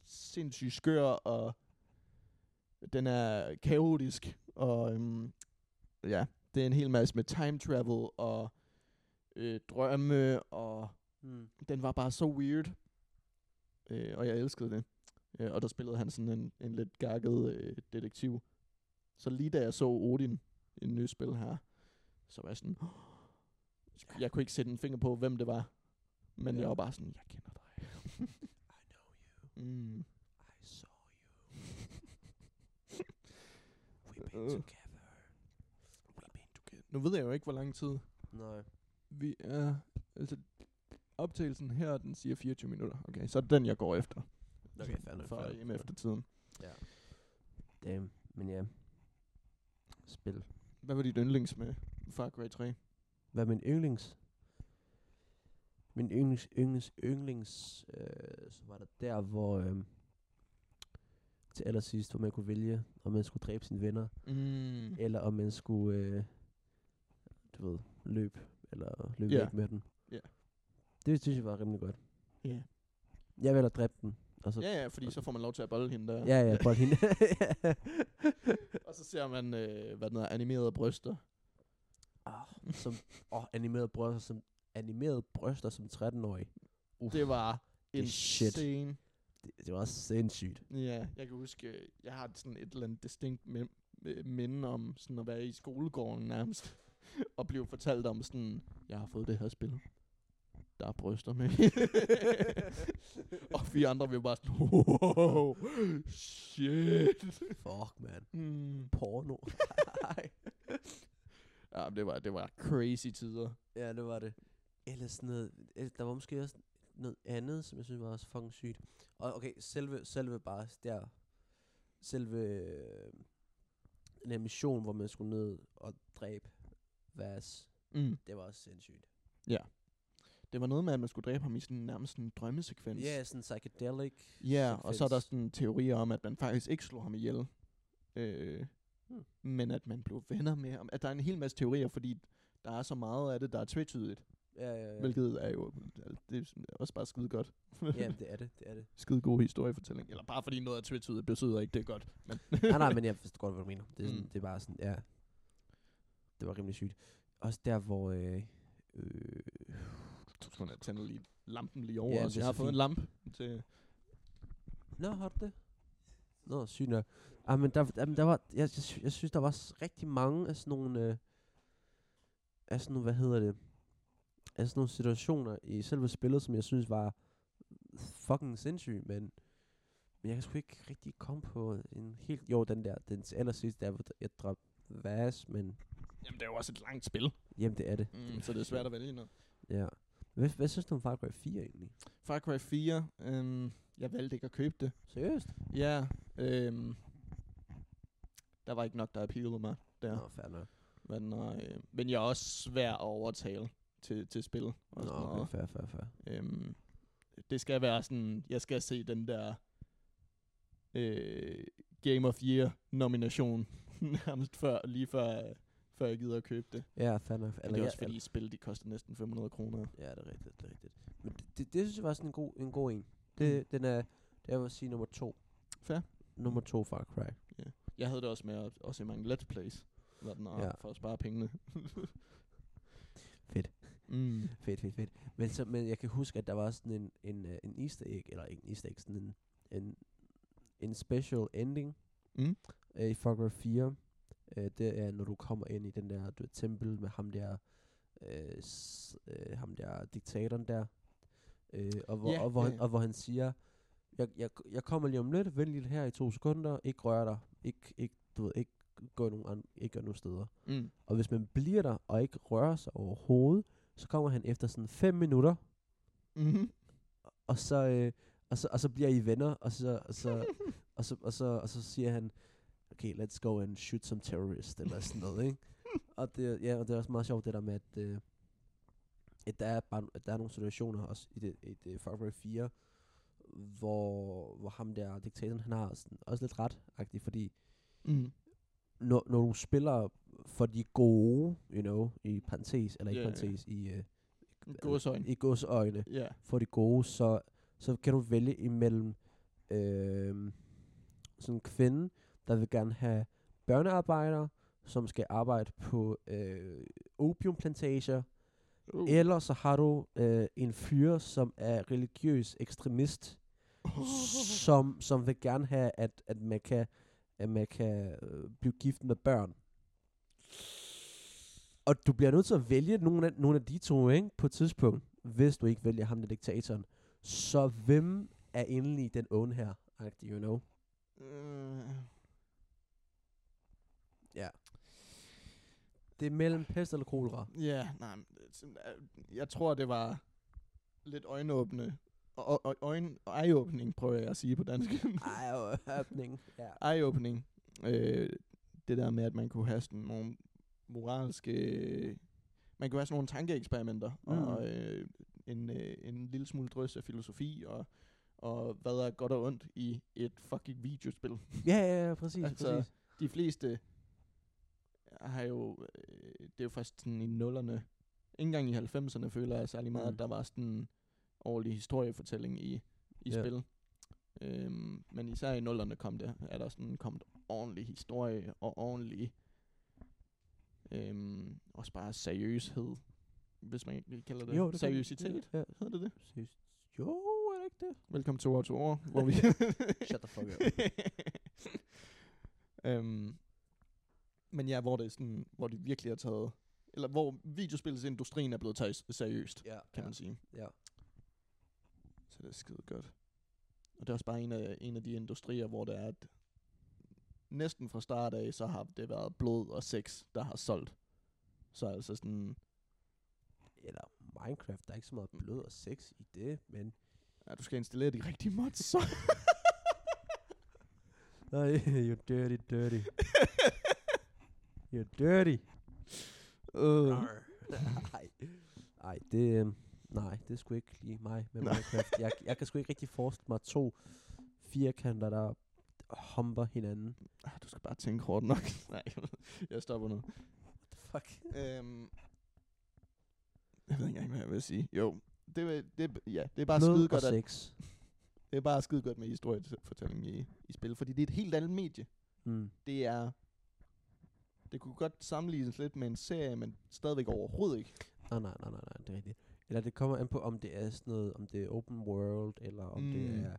S3: sindssygt skør, og den er kaotisk, og øhm, ja, det er en hel masse med time travel og øh, drømme, og
S4: Mm.
S3: den var bare så weird, øh, og jeg elskede det. Øh, og der spillede han sådan en, en lidt gakket øh, detektiv. Så lige da jeg så Odin i en ny spil her, så var jeg sådan, jeg kunne ikke sætte en finger på, hvem det var. Men
S4: Ja.
S3: ja. jeg var bare sådan, jeg kender dig. Mm.
S4: I saw you. We've been together. We've been together.
S3: Nu ved jeg jo ikke, hvor lang tid
S4: Nej.
S3: vi er. Altså, optagelsen her, den siger 24 minutter. Okay, så er det den, jeg går efter.
S4: Okay, fair nok,
S3: For
S4: fair nok,
S3: hjem
S4: fair
S3: efter tiden.
S4: Damn, men ja. Spil.
S3: Hvad var dit yndlings med Far Cry 3?
S4: Hvad er min yndlings? Min yndlings, yndlings, yndlings, øh, så var der der, hvor øh, til allersidst, hvor man kunne vælge, om man skulle dræbe sine venner,
S3: Mm.
S4: eller om man skulle, øh, du ved, løbe, eller løbe
S3: Ja.
S4: yeah. væk med den.
S3: Ja.
S4: Det synes jeg var rimelig godt.
S3: Yeah.
S4: Jeg ville have dræbt den, og så,
S3: Ja, ja, fordi så får man lov til at bolle hende der.
S4: ja, ja, bold hende.
S3: Og så ser man, øh, hvad den hedder, animerede bryster.
S4: oh, som, oh, animerede bryster som, animerede bryster som 13-årig.
S3: Uff. Det var
S4: det er shit.
S3: insane.
S4: Det, det var sindssygt.
S3: Ja, jeg kan huske, øh, jeg har sådan et eller andet distinkt mem- øh, minde om sådan at være i skolegården nærmest. og blive fortalt om sådan, jeg har fået det her spil. Der er bryster med. og vi andre vi var bare sådan, wow, shit.
S4: Fuck, man.
S3: Mm.
S4: Porno.
S3: Ja, men det var, det var crazy tider.
S4: ja, det var det. Eller sådan noget. eller Der var måske også noget andet, som jeg synes var også fucking sygt. Og okay, selve, selve bare der, selve øh, den her mission, hvor man skulle ned og dræbe Vas,
S3: Mm.
S4: det var også sindssygt.
S3: Det var noget med, at man skulle dræbe ham i sådan nærmest sådan en drømmesekvens.
S4: Ja, yeah, sådan psychedelic.
S3: Ja, og så er der
S4: sekvens.
S3: sådan teorier om, at man faktisk ikke slog ham ihjel. Øh,
S4: Hmm.
S3: men at man blev venner med ham. At der er en hel masse teorier, fordi der er så meget af det, der er tvetydigt,
S4: Ja, ja, ja.
S3: ja. hvilket er jo det er sådan- også bare skide godt.
S4: ja, det er det, det er det.
S3: skide god historiefortælling. Eller bare fordi noget er tvetydigt, betyder ikke, det er godt. Men
S4: nej, nej, men jeg forstår godt, hvad du mener. Det er, sådan,
S3: Mm.
S4: mm. det er bare sådan, ja. Det var rimelig sygt. Også der, hvor... Øh, øh,
S3: jeg tror, jeg tænder lige lampen lige over.
S4: Ja,
S3: Ja,
S4: det
S3: altså,
S4: er
S3: jeg har
S4: så
S3: fået en
S4: fint.
S3: lampe til...
S4: Nå, har du det? Nå, sygt nok. Ah, men der, jamen, der var, jeg, jeg, sy- jeg synes, der var s- rigtig mange af sådan nogle, øh, af sådan nogle, hvad hedder det, af sådan nogle situationer i selve spillet, som jeg synes var fucking sindssyge, men, men jeg kan sgu ikke rigtig komme på en helt, jo, den der, den til allersidste, der hvor jeg dræbte Vas, men
S3: Jamen, det er jo også et langt spil,
S4: jamen, det er det.
S3: mm, så det er svært at vælge noget.
S4: Ja. Hvad, hvad synes du om Far Cry 4 egentlig?
S3: Far Cry 4, øhm, jeg valgte ikke at købe det.
S4: Seriøst?
S3: Ja, øhm, der var ikke nok, der appealede mig der.
S4: Ja. Nå, fair nok.
S3: Men, øh, men jeg er også svær at overtale til, til spil.
S4: Nå,
S3: Og sådan
S4: okay,
S3: noget.
S4: fair, fair, fair.
S3: Øhm, det skal være sådan, jeg skal se den der øh, Game of Year nomination nærmest før, lige før, øh, før jeg gider at købe det.
S4: Ja, fair nok.
S3: Eller det er
S4: jeg-
S3: også fordi spil, de koster næsten 500 kroner.
S4: Ja, det er rigtigt, det er rigtigt. Men det, det, det synes jeg var sådan en god en. God en. Det, mm. Den er, det er, jeg vil sige, nummer to.
S3: Fair.
S4: Nummer to Far Cry.
S3: Jeg havde det også med at, at se mange Let's Plays, hvor den er
S4: Ja.
S3: for at spare pengene.
S4: Fedt.
S3: Mm.
S4: Fedt, fedt, fedt. Men, så, men jeg kan huske, at der var sådan en, en, øh, en easter egg, eller ikke en easter egg, sådan en, en, en special ending
S3: Mm.
S4: øh, i Far Cry 4. Øh, det er, når du kommer ind i den der du, ved, tempel med ham der, øh, s, øh, ham der diktatoren der, øh, og, hvor,
S3: Ja,
S4: og, hvor,
S3: ja,
S4: han-
S3: ja.
S4: og hvor han siger, jeg, jeg, jeg kommer lige om lidt, vent lidt her i to sekunder, ikke rør dig, ikke, ikke, du ved, ikke gå nogen, an, ikke gå nogen steder.
S3: Mm.
S4: Og hvis man bliver der og ikke rører sig overhovedet, så kommer han efter sådan 5 minutter,
S3: Mm-hmm.
S4: og så, øh, og så, og så bliver I venner, og så, og, så, og, så, og, så, og så siger han, okay, let's go and shoot some terrorists, eller sådan noget, ikke? Og det, ja, og det er også meget sjovt, det der med, at, øh, at der, er bare, at der er nogle situationer også i det, i det Far Cry 4, hvor, hvor ham der, diktatoren, han har sådan, også lidt ret fordi
S3: Mm.
S4: når, når du spiller for de gode, you know, i parentes, eller ikke
S3: Ja, ja.
S4: parentes, i, øh,
S3: Gåsøjne.
S4: i godsøjne,
S3: Ja.
S4: for de gode, så, så kan du vælge imellem øh, sådan en kvinde, der vil gerne have børnearbejdere, som skal arbejde på øh, opiumplantager,
S3: Uh.
S4: eller så har du øh, en fyr, som er religiøs ekstremist,
S3: Uh.
S4: som, som vil gerne have, at, at man kan, at man kan øh, blive gift med børn. Og du bliver nødt til at vælge nogle af, nogle af de to ikke, på et tidspunkt, hvis du ikke vælger ham, der diktatoren. Så hvem er egentlig den onde her? Agtig, you know?
S3: Øh.
S4: Det er mellem pest eller kolera.
S3: Ja, nej, men det er sådan, øh, jeg tror, det var lidt øjenåbne. Og, og, øjen, eye-opening, prøver jeg at sige på dansk.
S4: Ej, åbning. Ja.
S3: eye-opening. Øh, det der med, at man kunne have sådan nogle moralske... Man kunne have sådan nogle tankeeksperimenter, mm. og øh, en, øh, en lille smule drøs af filosofi, og, og hvad er godt og ondt i et fucking videospil.
S4: ja, ja, ja, præcis,
S3: Altså,
S4: altså, præcis.
S3: De fleste har jo, øh, det er jo først sådan i nullerne, ikke engang i 90'erne føler jeg særlig meget, mm.
S4: Mm.
S3: at der var sådan en ordentlig historiefortælling i, i
S4: Ja.
S3: spil. Øhm, men især i nullerne kom det, er der sådan kommet ordentlig historie og ordentlig, øhm, også bare seriøshed, hvis man ikke kalder det,
S4: Jo,
S3: det
S4: det kan-
S3: seriøsitet,
S4: Ja, ja,
S3: hedder det det?
S4: præcis. Jo, er det ikke det?
S3: Velkommen til år to år, hvor vi...
S4: Shut the fuck up.
S3: øhm, men ja, hvor det er sådan, hvor det virkelig er taget, eller hvor videospilsindustrien er blevet taget seriøst,
S4: Ja,
S3: kan man sige.
S4: Ja.
S3: Så det er skide godt. Og det er også bare en af, en af de industrier, hvor det er, at næsten fra start af, så har det været blod og sex, der har solgt. Så altså sådan,
S4: Eller Minecraft, der er ikke så meget blod og sex i det, men
S3: ja, du skal installere de rigtige mods, så
S4: Nej, you're dirty, dirty. you're dirty.
S3: øh,
S4: Nej. Nej, det, øhm, nej, det er sgu ikke lige mig med
S3: Nej.
S4: Minecraft. Jeg, jeg kan sgu ikke rigtig forestille mig to firkanter, der humper hinanden.
S3: ah, du skal bare tænke hårdt nok. Nej, jeg stopper nu.
S4: Fuck.
S3: Øhm, jeg ved ikke engang, hvad jeg vil sige. Jo, det, vil- det, ja, det er bare
S4: Blod
S3: skide
S4: og
S3: godt, at,
S4: sex.
S3: det er bare skide godt med historiefortælling i, i spil, fordi det er et helt andet medie.
S4: Mm.
S3: Det er... Det kunne godt sammenlignes lidt med en serie, men stadigvæk overhovedet ikke.
S4: Nej, nej, nej, nej, nej, det er rigtigt. Eller det kommer an på, om det er sådan noget, om det er open world, eller om mm.
S3: Mm.
S4: det er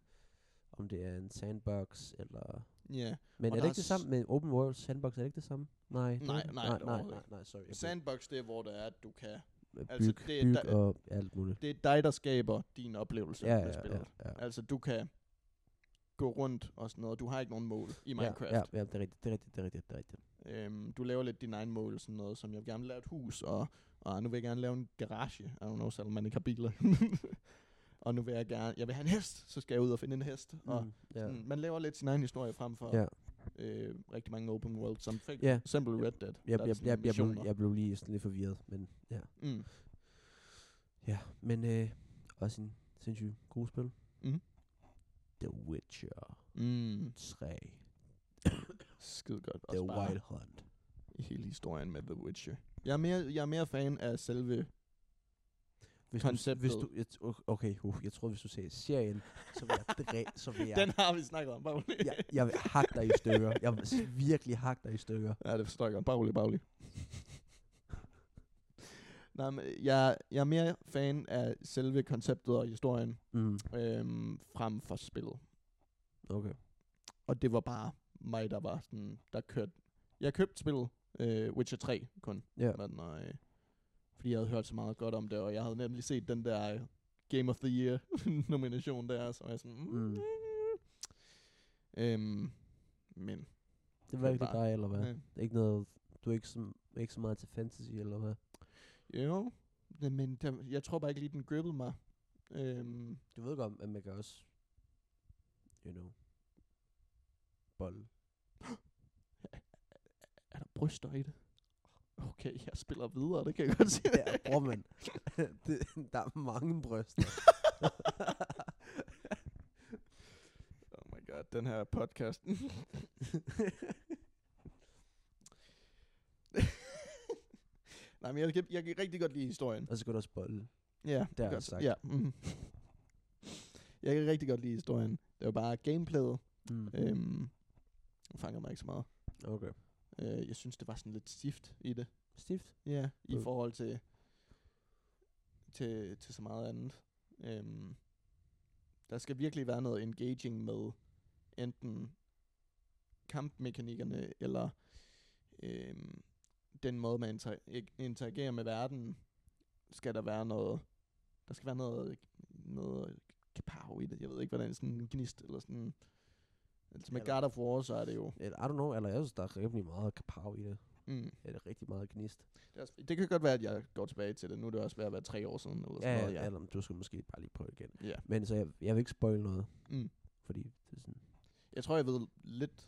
S4: om det er en sandbox, eller...
S3: Ja.
S4: Men
S3: Og
S4: er det ikke
S3: der er
S4: det samme med open world sandbox? Er det ikke det samme? Nej, det er
S3: Nej,
S4: det.
S3: nej,
S4: nej,
S3: det
S4: nej,
S3: er
S4: nej,
S3: overhovedet
S4: nej, sorry. Jeg
S3: Sandbox, det er, hvor der er, at du kan...
S4: blev-
S3: altså,
S4: byg,
S3: det er
S4: byg
S3: der-
S4: og alt muligt.
S3: Det er dig, der skaber din oplevelse
S4: Ja,
S3: med
S4: ja,
S3: spillet.
S4: ja, ja.
S3: Altså, du kan gå rundt og sådan noget. Du har ikke nogen mål i Minecraft.
S4: Ja, ja, ja, det er rigtigt, det er rigtigt, det er rigtigt, det er rigtigt.
S3: Øhm, du laver lidt dine egne mål, sådan noget, som jeg vil gerne lave et hus, og, og nu vil jeg gerne lave en garage. I don't know, selvom man ikke har biler. og nu vil jeg gerne, jeg vil have en hest, så skal jeg ud og finde en hest. Mm. Og
S4: Mm, ja.
S3: sådan, man laver lidt sin egen historie frem for
S4: Ja.
S3: øh, rigtig mange open world, som for
S4: Ja.
S3: eksempel Red Dead.
S4: Jeg,
S3: der er
S4: jeg,
S3: sådan
S4: jeg, jeg, blev,
S3: missioner.
S4: jeg blev lige sådan lidt forvirret, men ja.
S3: Mm.
S4: Ja, men øh, også en sindssygt god spil.
S3: Mhm.
S4: The Witcher
S3: Mm.
S4: 3.
S3: Skide godt.
S4: The
S3: Også bare
S4: Wild Hunt.
S3: hele historien med The Witcher. Jeg er mere, jeg er mere fan af selve...
S4: Hvis
S3: Konceptet.
S4: Du, hvis du, jeg, t- okay, uh, jeg tror, hvis du sagde serien, så vil jeg, dræ, så vil jeg,
S3: Den har vi snakket om, bare rolig.
S4: jeg, jeg vil hakke dig i stykker. Jeg vil s- virkelig hakke dig i stykker.
S3: Ja, det forstår jeg godt. Bare rolig, bare rolig. Nej, men jeg, jeg er mere fan af selve konceptet og historien
S4: Mm.
S3: øhm, frem for spillet.
S4: Okay.
S3: Og det var bare mig, der var sådan, der kørte. Jeg købte spillet øh, Witcher 3 kun,
S4: Ja.
S3: men, øh, fordi jeg havde hørt så meget godt om det, og jeg havde nemlig set den der øh, Game of the Year nomination der, så var jeg sådan, mm,
S4: Mm.
S3: øhm, men,
S4: Det var ikke
S3: Bare-
S4: dig, eller hvad?
S3: ja.
S4: Ikke noget, du er ikke så, ikke så meget til fantasy, eller hvad?
S3: jo, det- men der, jeg tror bare ikke lige, den grippede mig. Øhm,
S4: Du ved godt, at man kan også, you know, bold.
S3: er der bryster i det? Okay, jeg spiller videre, det kan jeg godt sige.
S4: Ja, bror, man. det, der er mange bryster.
S3: oh my god, den her podcast. Nej, men jeg kan, jeg kan rigtig godt lide historien.
S4: Og så kan du også bolle.
S3: Ja,
S4: Det har jeg
S3: godt,
S4: sagt.
S3: Ja, mm. Jeg kan rigtig godt lide historien. Det var bare gameplayet.
S4: Mm.
S3: Øhm, fanger mig ikke så meget.
S4: Okay.
S3: Øh, jeg synes, det var sådan lidt stift i det.
S4: Stift.
S3: Ja, i
S4: Mm.
S3: forhold til, til, til så meget andet. Øhm, der skal virkelig være noget engaging med enten kampmekanikkerne, eller øhm, den måde, man inter- ik- interagerer med verden, skal der være noget, der skal være noget, noget kapav i det. Jeg ved ikke, hvordan sådan en gnist, eller sådan... Altså med
S4: Eller-
S3: God of War, så er det jo...
S4: Eller, I don't know, eller jeg synes, der er rimelig meget kapav i det.
S3: Mm,
S4: Eller rigtig meget gnist.
S3: det, er også, det kan godt være, at jeg går tilbage til det. Nu er det også ved at være tre år siden. Eller sådan
S4: Ja,
S3: noget,
S4: ja, eller du skal måske bare lige prøve igen.
S3: Ja.
S4: Men så jeg, jeg vil ikke spoil noget,
S3: Mm.
S4: fordi det er sådan...
S3: Jeg tror, jeg ved lidt,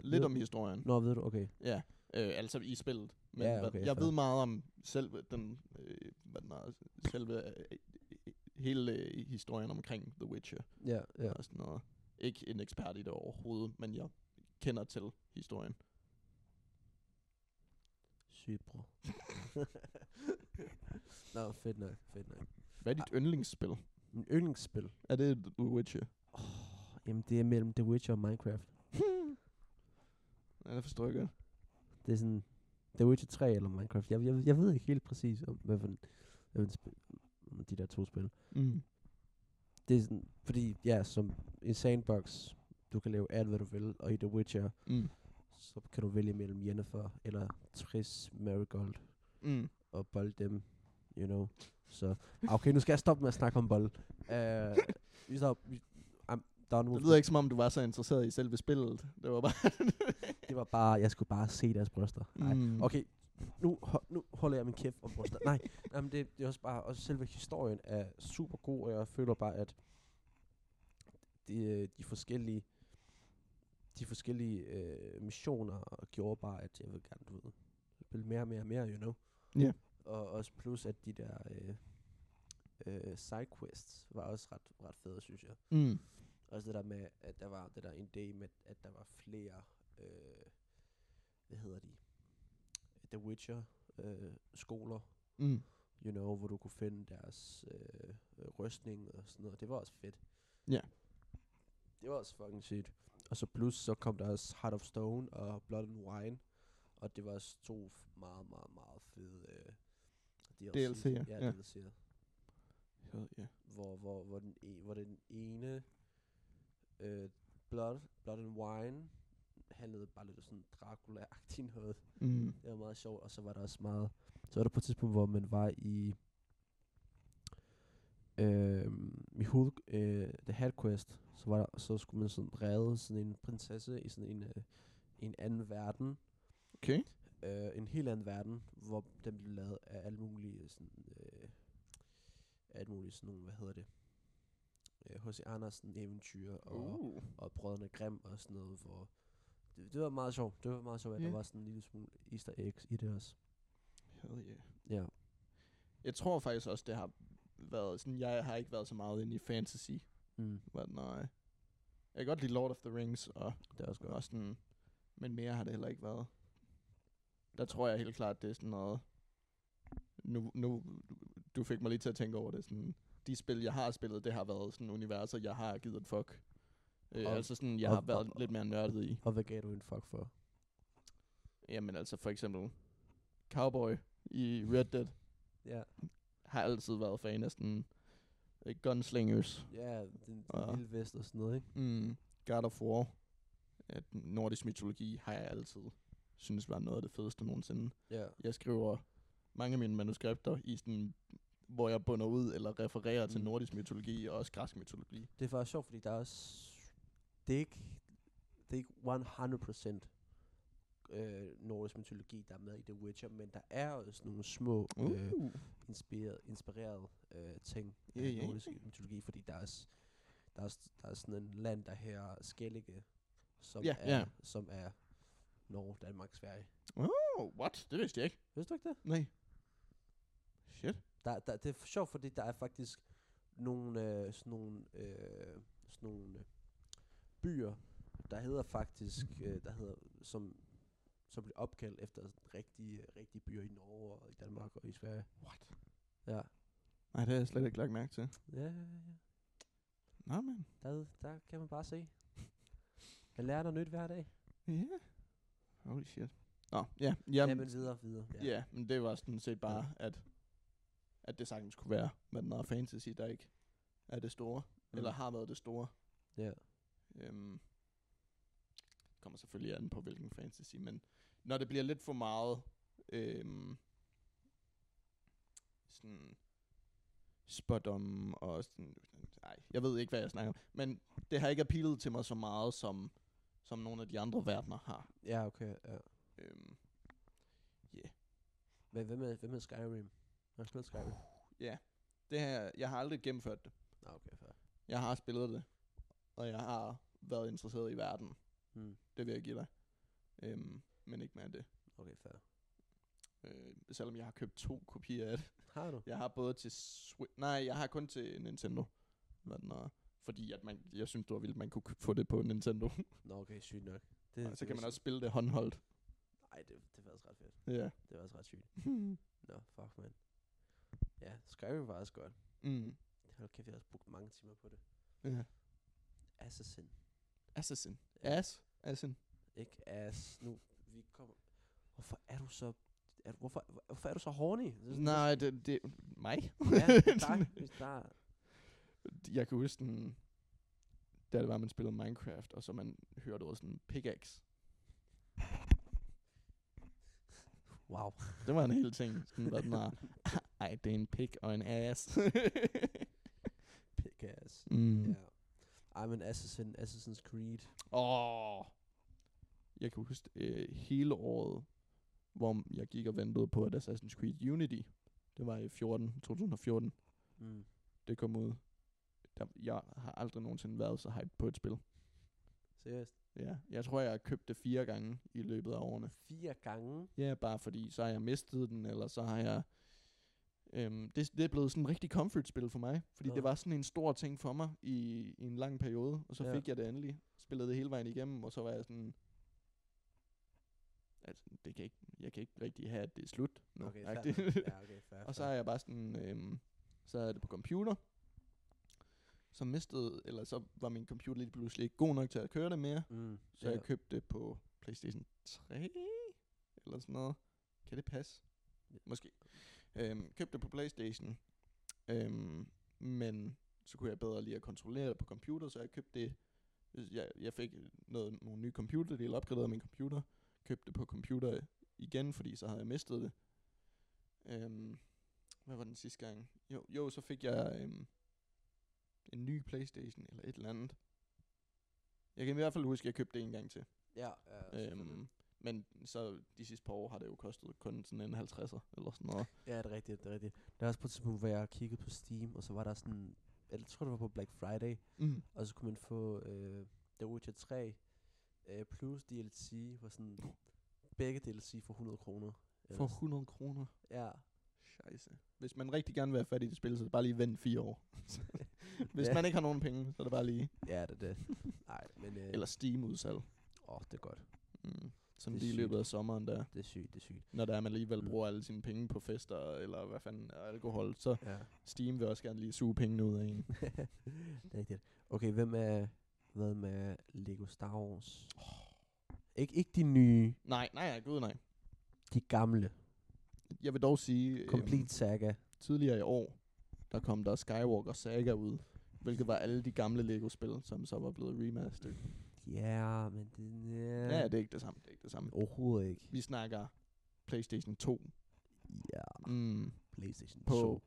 S3: lidt
S4: Ved-
S3: om historien.
S4: Nå, ved du, okay.
S3: Ja, øh, altså i spillet. Men
S4: Ja,
S3: hvad-
S4: okay,
S3: jeg
S4: fair.
S3: ved meget om selve den, øh, hvad den er, selve øh, øh, hele øh, historien omkring The Witcher
S4: Ja, ja.
S3: ja. og sådan noget. Ikke en ekspert i det overhovedet, men jeg kender til historien.
S4: Sygt, bror. Nå, fedt nok, fedt nok.
S3: Hvad er
S4: Ah.
S3: dit yndlingsspil?
S4: Min yndlingsspil,
S3: Er det The Witcher?
S4: jamen det er mellem The Witcher og Minecraft.
S3: Ja, det forstår jeg godt.
S4: Det er sådan... The Witcher 3 eller Minecraft. Jeg, jeg, jeg ved ikke helt præcis, om, hvad for, en, hvad for en spil, om de der to spil.
S3: Mm.
S4: Det er sådan, fordi, ja, som i Sandbox, du kan lave alt, hvad du vil, og i The Witcher,
S3: Mm.
S4: så kan du vælge mellem Jennifer eller Tris Marigold.
S3: Mm.
S4: og bold dem, you know. Så, okay, nu skal jeg stoppe med at snakke om bold. Uh, vi stop, vi, um, der er
S3: Det
S4: nogle,
S3: lyder ikke, som om du var så interesseret i selve spillet. Det var bare...
S4: det var bare, jeg skulle bare se deres bryster. Nej.
S3: Mm.
S4: Okay, nu, ho- nu holder jeg min kæft om bryster. Nej, jamen det, det er også bare, også selve historien er super god, og jeg føler bare, at de, de forskellige de forskellige øh, missioner gjorde bare, at jeg vil gerne, du ved, spille mere og mere og mere, you know.
S3: Ja.
S4: Og også plus, at de der øh, øh, sidequests var også ret, ret fede, synes jeg.
S3: Mm.
S4: Også det der med, at der var det der en idé med, at der var flere øh, hvad hedder de, The Witcher øh, skoler,
S3: Mm.
S4: you know, hvor du kunne finde deres øh, øh, rystning og sådan noget. Det var også fedt.
S3: Ja.
S4: Det var også fucking sygt. Og så plus så kom der også Heart of Stone og Blood and Wine. Og det var også to f- meget, meget, meget fede øh,
S3: DLC'er,
S4: Ja,
S3: ja.
S4: ja. DLC'er.
S3: Så, ja.
S4: Hvor, hvor, hvor, den, e, hvor den ene øh, Blood, Blood and Wine handlede bare lidt om sådan Dracula-agtigt noget.
S3: Mm.
S4: Det var meget sjovt, og så var der også meget... Så var der på et tidspunkt, hvor man var i... Øh, I hoved, øh, The Hat Quest, så, var der, så skulle man sådan redde sådan en prinsesse i sådan en, øh, en anden verden.
S3: Okay.
S4: Øh, en helt anden verden, hvor den blev lavet af alle mulige sådan... Øh, alt muligt sådan nogle, hvad hedder det? Øh, H.C. Andersen eventyr og
S3: Uh.
S4: og brødrene Grimm og sådan noget, hvor det, det var meget sjovt. Det var meget sjovt, at
S3: Ja.
S4: der var sådan en lille smule easter eggs i det også.
S3: Hell yeah.
S4: Ja.
S3: Jeg tror faktisk også, det har været sådan, jeg har ikke været så meget inde i fantasy,
S4: Mm.
S3: but nej. Jeg kan godt lide Lord of the Rings, og
S4: Det er også godt.
S3: og sådan, men mere har det heller ikke været. Der tror jeg helt klart, det er sådan noget, nu, nu, du fik mig lige til at tænke over det, sådan, de spil, jeg har spillet, det har været sådan universer, jeg har givet en fuck. Øh,
S4: Og-
S3: altså sådan, jeg
S4: og-
S3: har været
S4: og-
S3: lidt mere nørdet i.
S4: Og hvad gav du en fuck for?
S3: Jamen altså for eksempel Cowboy i Red Dead
S4: Ja,
S3: har altid været fan af sådan øh, gunslingers.
S4: ja den, den
S3: Og-
S4: lille vest og sådan noget, ikke?
S3: Mm, God of War. At nordisk mytologi har jeg altid synes var noget af det fedeste nogensinde.
S4: Ja.
S3: Jeg skriver mange af mine manuskripter i sådan hvor jeg bunder ud eller refererer mm. til
S4: Mm.
S3: nordisk mytologi og også græsk mytologi.
S4: Det er faktisk sjovt, fordi der er også... Det er ikke, det er ikke 100% øh, nordisk mytologi, der er med i The Witcher, men der er også nogle små
S3: Uh.
S4: øh, inspireret, inspireret øh, ting
S3: Ja,
S4: yeah, af
S3: ja,
S4: nordisk
S3: ja.
S4: mytologi, fordi der er, s- der, er, s- der er sådan en land, der her Skellige, som,
S3: Ja,
S4: er,
S3: ja.
S4: som er Norge, Danmark, Sverige.
S3: Oh, what? Det vidste jeg ikke.
S4: Vidste du ikke det?
S3: Nej. Shit.
S4: Der, der, det er sjovt, fordi der er faktisk nogle, øh, sådan nogle, øh, sådan nogle øh, byer, der hedder faktisk, øh, der hedder, som, som bliver opkaldt efter sådan rigtige, rigtige byer i Norge og i Danmark og i Sverige.
S3: What?
S4: Ja,
S3: Nej, det har jeg slet ikke lagt mærke til.
S4: ja, ja. ja.
S3: Nå, men.
S4: Der, der kan man bare se. Man lærer noget nyt hver dag.
S3: Ja. Yeah. Holy shit. Oh, Nå, ja. Jamen,
S4: Jamen videre, videre.
S3: Ja, yeah, men det var sådan set bare, at, at det sagtens kunne være, med noget fantasy, der ikke er det store, mm. eller har været det store.
S4: Ja.
S3: Øhm, det kommer selvfølgelig an på, hvilken fantasy, men når det bliver lidt for meget øhm, sådan spot om og sådan, ej, jeg ved ikke, hvad jeg snakker om, men det har ikke appealet til mig så meget, som, som nogle af de andre verdener har.
S4: Ja, okay. Ja.
S3: Øhm,
S4: Men hvem er, hvem er Skyrim? Har du spillet Skyrim?
S3: det her, jeg har aldrig gennemført det.
S4: Nå, okay, fair.
S3: Jeg har spillet det, og jeg har været interesseret i verden.
S4: Hmm.
S3: Det vil jeg give dig. Øhm, men ikke mere end det.
S4: Okay, fair.
S3: Øh, selvom jeg har købt to kopier af det.
S4: Har du?
S3: Jeg har både til Switch... Nej, jeg har kun til Nintendo. Men, og, fordi at man, jeg synes, det var vildt, man kunne kø- få det på Nintendo.
S4: Nå, okay, sygt nok.
S3: og så kan man
S4: var-
S3: også spille det håndholdt.
S4: Ej, det, det var også ret fedt.
S3: Ja.
S4: Det var også ret sygt. Nå, fuck, man. Ja, Skyrim var også godt.
S3: mm.
S4: Hold kæft, jeg har også brugt mange timer på det.
S3: ja.
S4: Assassin.
S3: Assassin.
S4: Ja.
S3: Ass. Assassin.
S4: Ikke ass. Nu, vi kommer... Hvorfor er du så... Er, du- hvorfor, hvorfor er du så horny? Det er sådan-
S3: Nej, det, det mig.
S4: Ja, dig. Hvis der er
S3: jeg kan huske den, da det var, man spillede Minecraft, og så man hørte ordet sådan pickaxe.
S4: Wow.
S3: Det var en hel ting. Sådan, hvad den var. Ej, det er en pik og en ass.
S4: Pick ass.
S3: mm.
S4: Mm. Ja. Ej, men Assassin, Assassin's Creed.
S3: Åh. Jeg kan huske øh, hele året, hvor jeg gik og ventede på, at Assassin's Creed Unity, det var i 14, 2014,
S4: Mm.
S3: det kom ud. Der, jeg har aldrig nogensinde været så hyped på et spil.
S4: Seriøst.
S3: Ja, jeg tror, jeg har købt det fire gange i løbet af årene.
S4: Fire gange.
S3: Ja, bare fordi, så har jeg mistet den, eller så har jeg... Øhm, det, det er blevet sådan en rigtig comfort-spil for mig, fordi ja.
S4: Ja.
S3: det var sådan en stor ting for mig i, i en lang periode, og så
S4: Ja.
S3: ja. fik jeg det endelig, spillede det hele vejen igennem, og så var jeg sådan... altså, det kan ikke, jeg kan ikke rigtig have, at det er slut nu.
S4: Okay, fair.
S3: agtigt.
S4: nok. Ja, okay, fair,
S3: og så
S4: fair.
S3: er jeg bare sådan, øhm, så er det på computer. Så mistede, eller så var min computer lige pludselig ikke god nok til at køre det mere.
S4: Mm,
S3: Så jeg købte det på Playstation 3, eller sådan noget. Kan det passe?
S4: Ja.
S3: Måske. Øhm, købte det på Playstation, øhm, men så kunne jeg bedre lige at kontrollere det på computer, så jeg købte det. Jeg, jeg fik noget, nogle nye computerdele, opgraderede min computer, købte det på computer igen, fordi så havde jeg mistet det. Øhm, hvad var den sidste gang? Jo, jo så fik jeg øhm, en ny Playstation, eller et eller andet. Jeg kan i hvert fald huske, at jeg købte det en gang til.
S4: Ja, ja selvfølgelig.
S3: Øhm, men så de sidste par år har det jo kostet kun sådan en 50'er eller sådan noget.
S4: Ja, det er rigtigt, det er rigtigt. Der er også på et tidspunkt, hvor jeg kiggede på Steam, og så var der sådan, jeg tror det var på Black Friday,
S3: Mm.
S4: og så kunne man få øh, The Witcher 3 øh, plus DLC for sådan, begge DLC for 100 kroner.
S3: For
S4: Eller sådan-
S3: 100 kroner.
S4: Ja,
S3: Scheisse. Hvis man rigtig gerne vil være fat i det spil, så er det bare lige vent fire år. Hvis
S4: Ja.
S3: man ikke har nogen penge, så er det bare lige.
S4: ja, det er det. Nej, men... Øh,
S3: Eller Steam-udsalg.
S4: Åh, oh, det er godt.
S3: Mm. Sådan
S4: Det er
S3: lige i løbet
S4: sygt.
S3: af sommeren der.
S4: Det er sygt, det er sygt.
S3: Når der er, man alligevel
S4: Mm.
S3: bruger alle sine penge på fester, eller hvad fanden, og alkohol, så
S4: Ja.
S3: Steam vil også gerne lige suge pengene ud af en.
S4: det er rigtigt. Okay, hvem er, hvad med Lego Star Wars? Ikke, ikke de nye,
S3: Nej, nej, nej, gud nej.
S4: de gamle.
S3: Jeg vil dog sige, øhm,
S4: Complete Saga.
S3: tidligere i år, der kom der Skywalker Saga ud, hvilket var alle de gamle Lego-spil, som så var blevet remasteret.
S4: Ja, yeah, men det...
S3: Ja,
S4: Yeah.
S3: ja det er ikke det samme. Det er ikke det samme.
S4: Overhovedet ikke.
S3: Vi snakker PlayStation 2
S4: Ja,
S3: mm,
S4: Playstation
S3: på
S4: 2.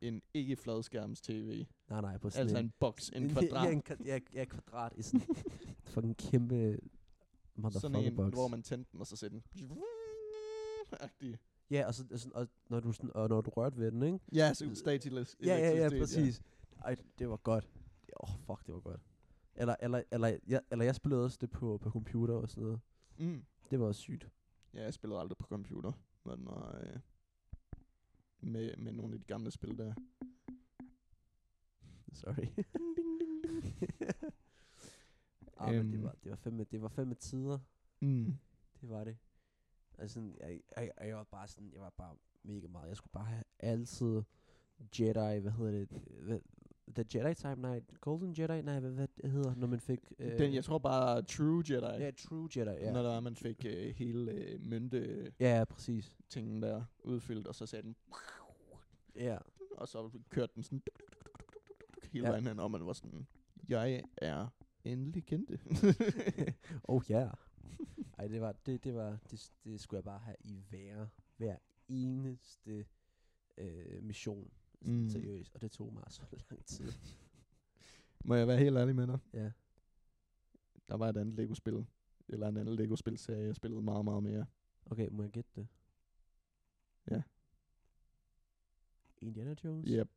S3: en ikke fladskærms tv.
S4: Nej, nej, på sådan
S3: Altså en boks, en
S4: Ja,
S3: kvadrat.
S4: en, kva- ja, ja, kvadrat i sådan fucking kæmpe
S3: Sådan en,
S4: motherfucking box.
S3: hvor man tændte den, og så sætter den. Agtig.
S4: Ja, og, så, og, sådan, og, når du sådan, og når du rørte ved den, ikke?
S3: Ja, så statisk
S4: Ja, ja, ja,
S3: elektricitet,
S4: præcis. Ej, det var godt. Åh, oh, fuck, det var godt. Eller, eller, eller, jeg, eller jeg spillede også det på, på computer og sådan noget.
S3: Mm.
S4: Det var også sygt.
S3: Ja, jeg spillede aldrig på computer, men øh, med, med nogle af de gamle spil der.
S4: Sorry. ah, men det
S3: Øhm.
S4: var, det var fem, det var fem tider.
S3: Mm.
S4: Det var det. Altså, sådan, jeg, jeg, jeg, jeg var bare sådan, jeg var bare mega meget. Jeg skulle bare have altid Jedi, hvad hedder det? Hvad, The Jedi Time, nej, Golden Jedi, nej, hvad, hvad det hedder, når man fik... Øh,
S3: Den, jeg tror bare True Jedi,
S4: Ja, True Jedi,
S3: ja. når
S4: ja.
S3: der, var, man fik øh, hele øh, mønte
S4: Ja, ja, præcis.
S3: tingen der udfyldt, og så sagde den,
S4: Ja,
S3: og så kørte den sådan duk, duk, duk, duk, duk, duk, duk, duk, hele
S4: Ja.
S3: ja. vejen hen, og man var sådan, jeg er en legende.
S4: oh ja. Yeah. Ej, det var, det, det var, det, det skulle jeg bare have i hver, hver eneste øh, mission. Mm.
S3: Mm.
S4: Seriøst, og det tog mig så lang tid.
S3: Må jeg være helt ærlig med dig?
S4: Ja.
S3: Der var et andet Lego-spil, eller en anden Lego-spilserie, jeg spillede meget, meget mere.
S4: Okay, må jeg gætte det?
S3: Ja.
S4: Indiana Jones?
S3: Yep.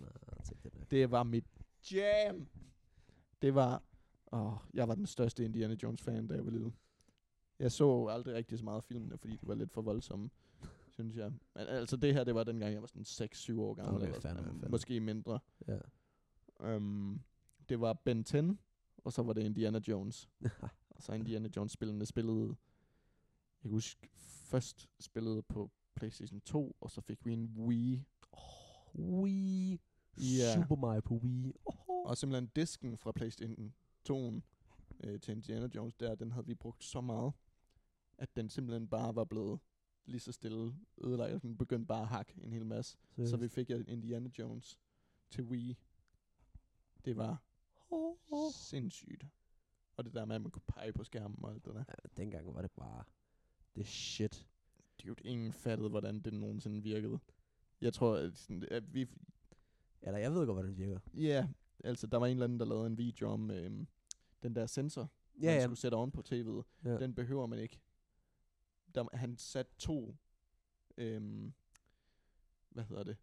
S4: Nej, jeg tænkte det nok.
S3: Det var mit jam. Det var... Åh, jeg var den største Indiana Jones-fan, da jeg var lille. Jeg så aldrig rigtig så meget af filmene, fordi de var lidt for voldsomme, synes jeg. Men altså, det her, det var dengang, jeg var sådan 6-7 år gammel.
S4: Okay,
S3: eller sådan,
S4: fair nok, fair nok.
S3: Måske mindre.
S4: Ja.
S3: Um, det var Ben 10, og så var det Indiana Jones. og så Indiana Jones-spillene spillede... Jeg kan huske, først spillede på PlayStation 2, og så fik vi en Wii.
S4: Wii.
S3: Ja.
S4: Super Mario på Wii. Oh.
S3: Og simpelthen disken fra PlayStation 2 øh, til Indiana Jones der, den havde vi brugt så meget, at den simpelthen bare var blevet lige så stille ødelagt, og den begyndte bare at hakke en hel masse. Så vi fik et Indiana Jones til Wii. Det var sindssygt. Og det der med, at man kunne pege på skærmen og alt det der.
S4: Ja, dengang var det bare det shit.
S3: Dude, ingen fattede, hvordan det nogensinde virkede. Jeg tror, at, sådan, at vi,
S4: Eller jeg ved godt, hvordan det virker.
S3: ja, yeah, altså der var en eller anden, der lavede en video om øhm, den der sensor, ja,
S4: Ja,
S3: man
S4: ja.
S3: skulle sætte oven på tv'et.
S4: ja.
S3: Den behøver man ikke. Der, han satte to, øhm, hvad hedder det,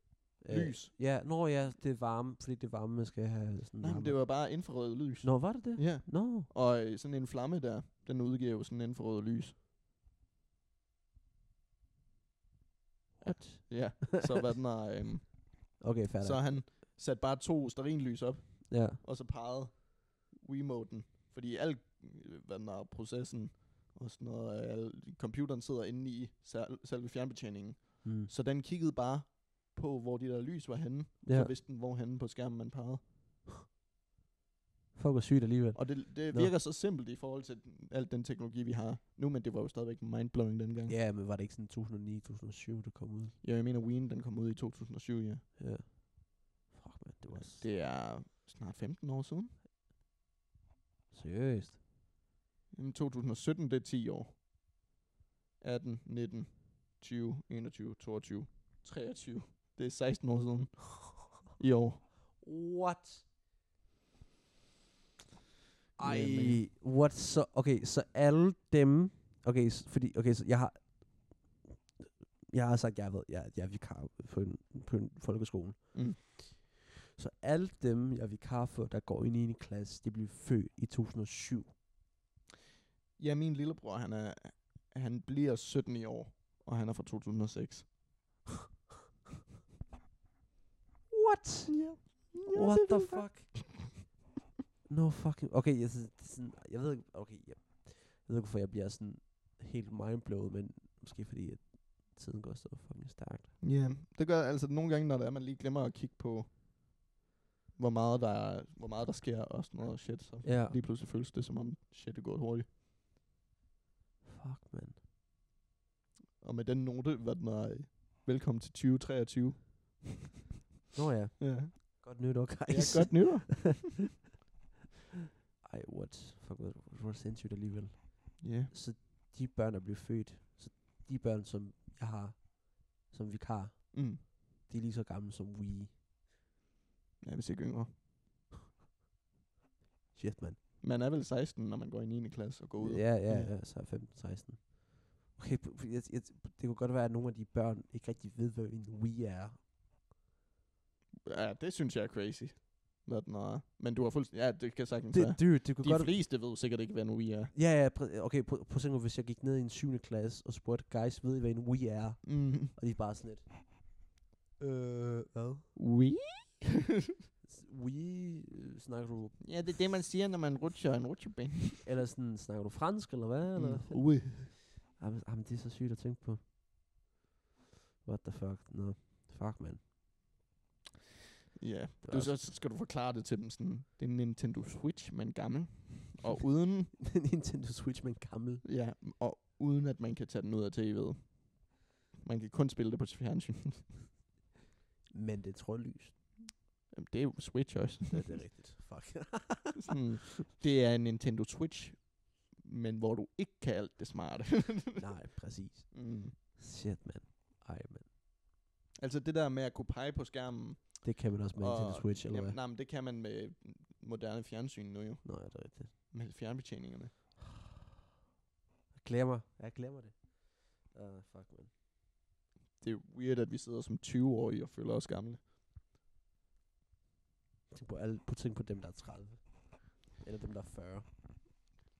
S4: Øh,
S3: lys.
S4: Ja, når ja, det er varme, fordi det varme, man skal have sådan
S3: Nej, men det var bare infrarødt lys.
S4: Nå, var det det?
S3: Ja,
S4: Nå.
S3: og øh, sådan en flamme der, den udgiver jo sådan infrarødt lys.
S4: What?
S3: Ja, så hvad den har, øhm,
S4: Okay, færdig.
S3: så han satte bare to sterinlys op,
S4: Ja.
S3: og så pegede Wiimoten, fordi alt, øh, hvad den har, processen og sådan noget. og al- Computeren sidder inde i sel- selve fjernbetjeningen.
S4: Mm.
S3: Så den kiggede bare på, hvor de der lys var henne. Ja.
S4: Ja.
S3: Så vidste den, hvor henne på skærmen man pegede.
S4: Fuck, hvor sygt alligevel.
S3: Og det, det
S4: Nå.
S3: virker så simpelt i forhold til den- al den teknologi, vi har nu, men det var jo stadigvæk mindblowing dengang.
S4: Ja, men var det ikke sådan 2009-2007, det kom ud?
S3: Ja, jeg mener, Wien, den kom ud i 2007, ja.
S4: Ja. Fuck, man, det var det.
S3: Det er snart 15 år siden.
S4: seriøst.
S3: Jamen, 2017, det er 10 år. 18, 19, 20, 21, 22, 23. Det er 16 år siden. I år.
S4: What? Ej,
S3: Jamen.
S4: what så? Okay, så alle dem... Okay, s- fordi, okay, så jeg har... Jeg har sagt, jeg, ved, jeg, jeg er vikar på en, på en folkeskole.
S3: Mm.
S4: Så alle dem, jeg er vikar for, der går i 9. klasse, de blev født i 2007.
S3: Ja, min lillebror, han, er, han bliver 17 i år, og han er fra 2006.
S4: What?
S3: Ja. ja
S4: What the fuck? no fucking... Okay, jeg, synes, det er sådan, jeg ved ikke... Okay, jeg, jeg ved ikke, hvorfor jeg bliver sådan helt mindblowet, men måske fordi, at tiden går så fucking stærkt.
S3: Ja, det gør altså nogle gange, når det er, man lige glemmer at kigge på, hvor meget der, er, hvor meget der sker og sådan noget shit. Så
S4: Ja.
S3: lige pludselig føles det, som om shit er gået hurtigt.
S4: Fuck, man.
S3: Og med den note, var den er, velkommen til 2023.
S4: Nå ja.
S3: Ja.
S4: Godt nytår,
S3: Ja,
S4: guys.
S3: godt nytår.
S4: Ej, what? Fuck, hvor hvor sindssygt alligevel.
S3: Ja.
S4: Så de børn, der blev født, så de børn, som jeg har, som vikar,
S3: Mm.
S4: de er lige så gamle som we.
S3: Ja, hvis ikke yngre.
S4: Shit, man.
S3: Man er vel 16, når man går i 9. klasse og går ud.
S4: Ja, ja,
S3: Ja.
S4: ja, så er 15, 16. Okay, p- p- jeg, jeg, det kunne godt være, at nogle af de børn ikke rigtig ved, hvad en we er.
S3: ja det synes jeg er crazy. Når den er. Men du har fuldstændig... Ja, det kan sagtens være.
S4: Det, dude, det kunne
S3: De
S4: godt...
S3: fleste ved sikkert ikke, hvad en we er.
S4: Ja, ja, præ- okay, på, på sådan hvis jeg gik ned i en 7. klasse og spurgte, guys, ved I, hvad en we er?
S3: Mm.
S4: Og de er bare sådan lidt... Øh, hvad?
S3: We?
S4: We øh, snakker du...
S3: ja, det er det, man siger, når man rutscher en rutsjebane.
S4: Eller sådan, snakker du fransk, eller hvad? Eller?
S3: Mm. Ui.
S4: Jamen, jamen, det er så sygt at tænke på. What the fuck? Nå, no. fuck, man.
S3: Ja,
S4: Det var
S3: du,
S4: altså-
S3: så så skal du forklare det til dem sådan, det er en Nintendo Switch, men gammel, og uden,
S4: Nintendo Switch, men gammel.
S3: ja, og uden at man kan tage den ud af tv'et. Man kan kun spille det på fjernsynet.
S4: Men det er trådlys.
S3: Jamen, det er jo Switch også.
S4: Ja, det er rigtigt. Fuck.
S3: sådan, det er en Nintendo Switch, men hvor du ikke kan alt det smarte.
S4: Nej, præcis.
S3: mm.
S4: Shit, man. Ej, man.
S3: Altså det der med at kunne pege på skærmen.
S4: Det kan man også med Nintendo Switch, eller
S3: jamen,
S4: hvad?
S3: Nej, men det kan man med moderne fjernsyn nu jo.
S4: Nå, ja, det er rigtigt.
S3: Med fjernbetjeningerne.
S4: Jeg glemmer. Jeg glemmer det. Uh, fuck, man.
S3: Det er weird, at vi sidder som 20-årige og føler os gamle.
S4: Tænk på, alle, på, tænk på dem, der er 30. Eller dem, der er 40.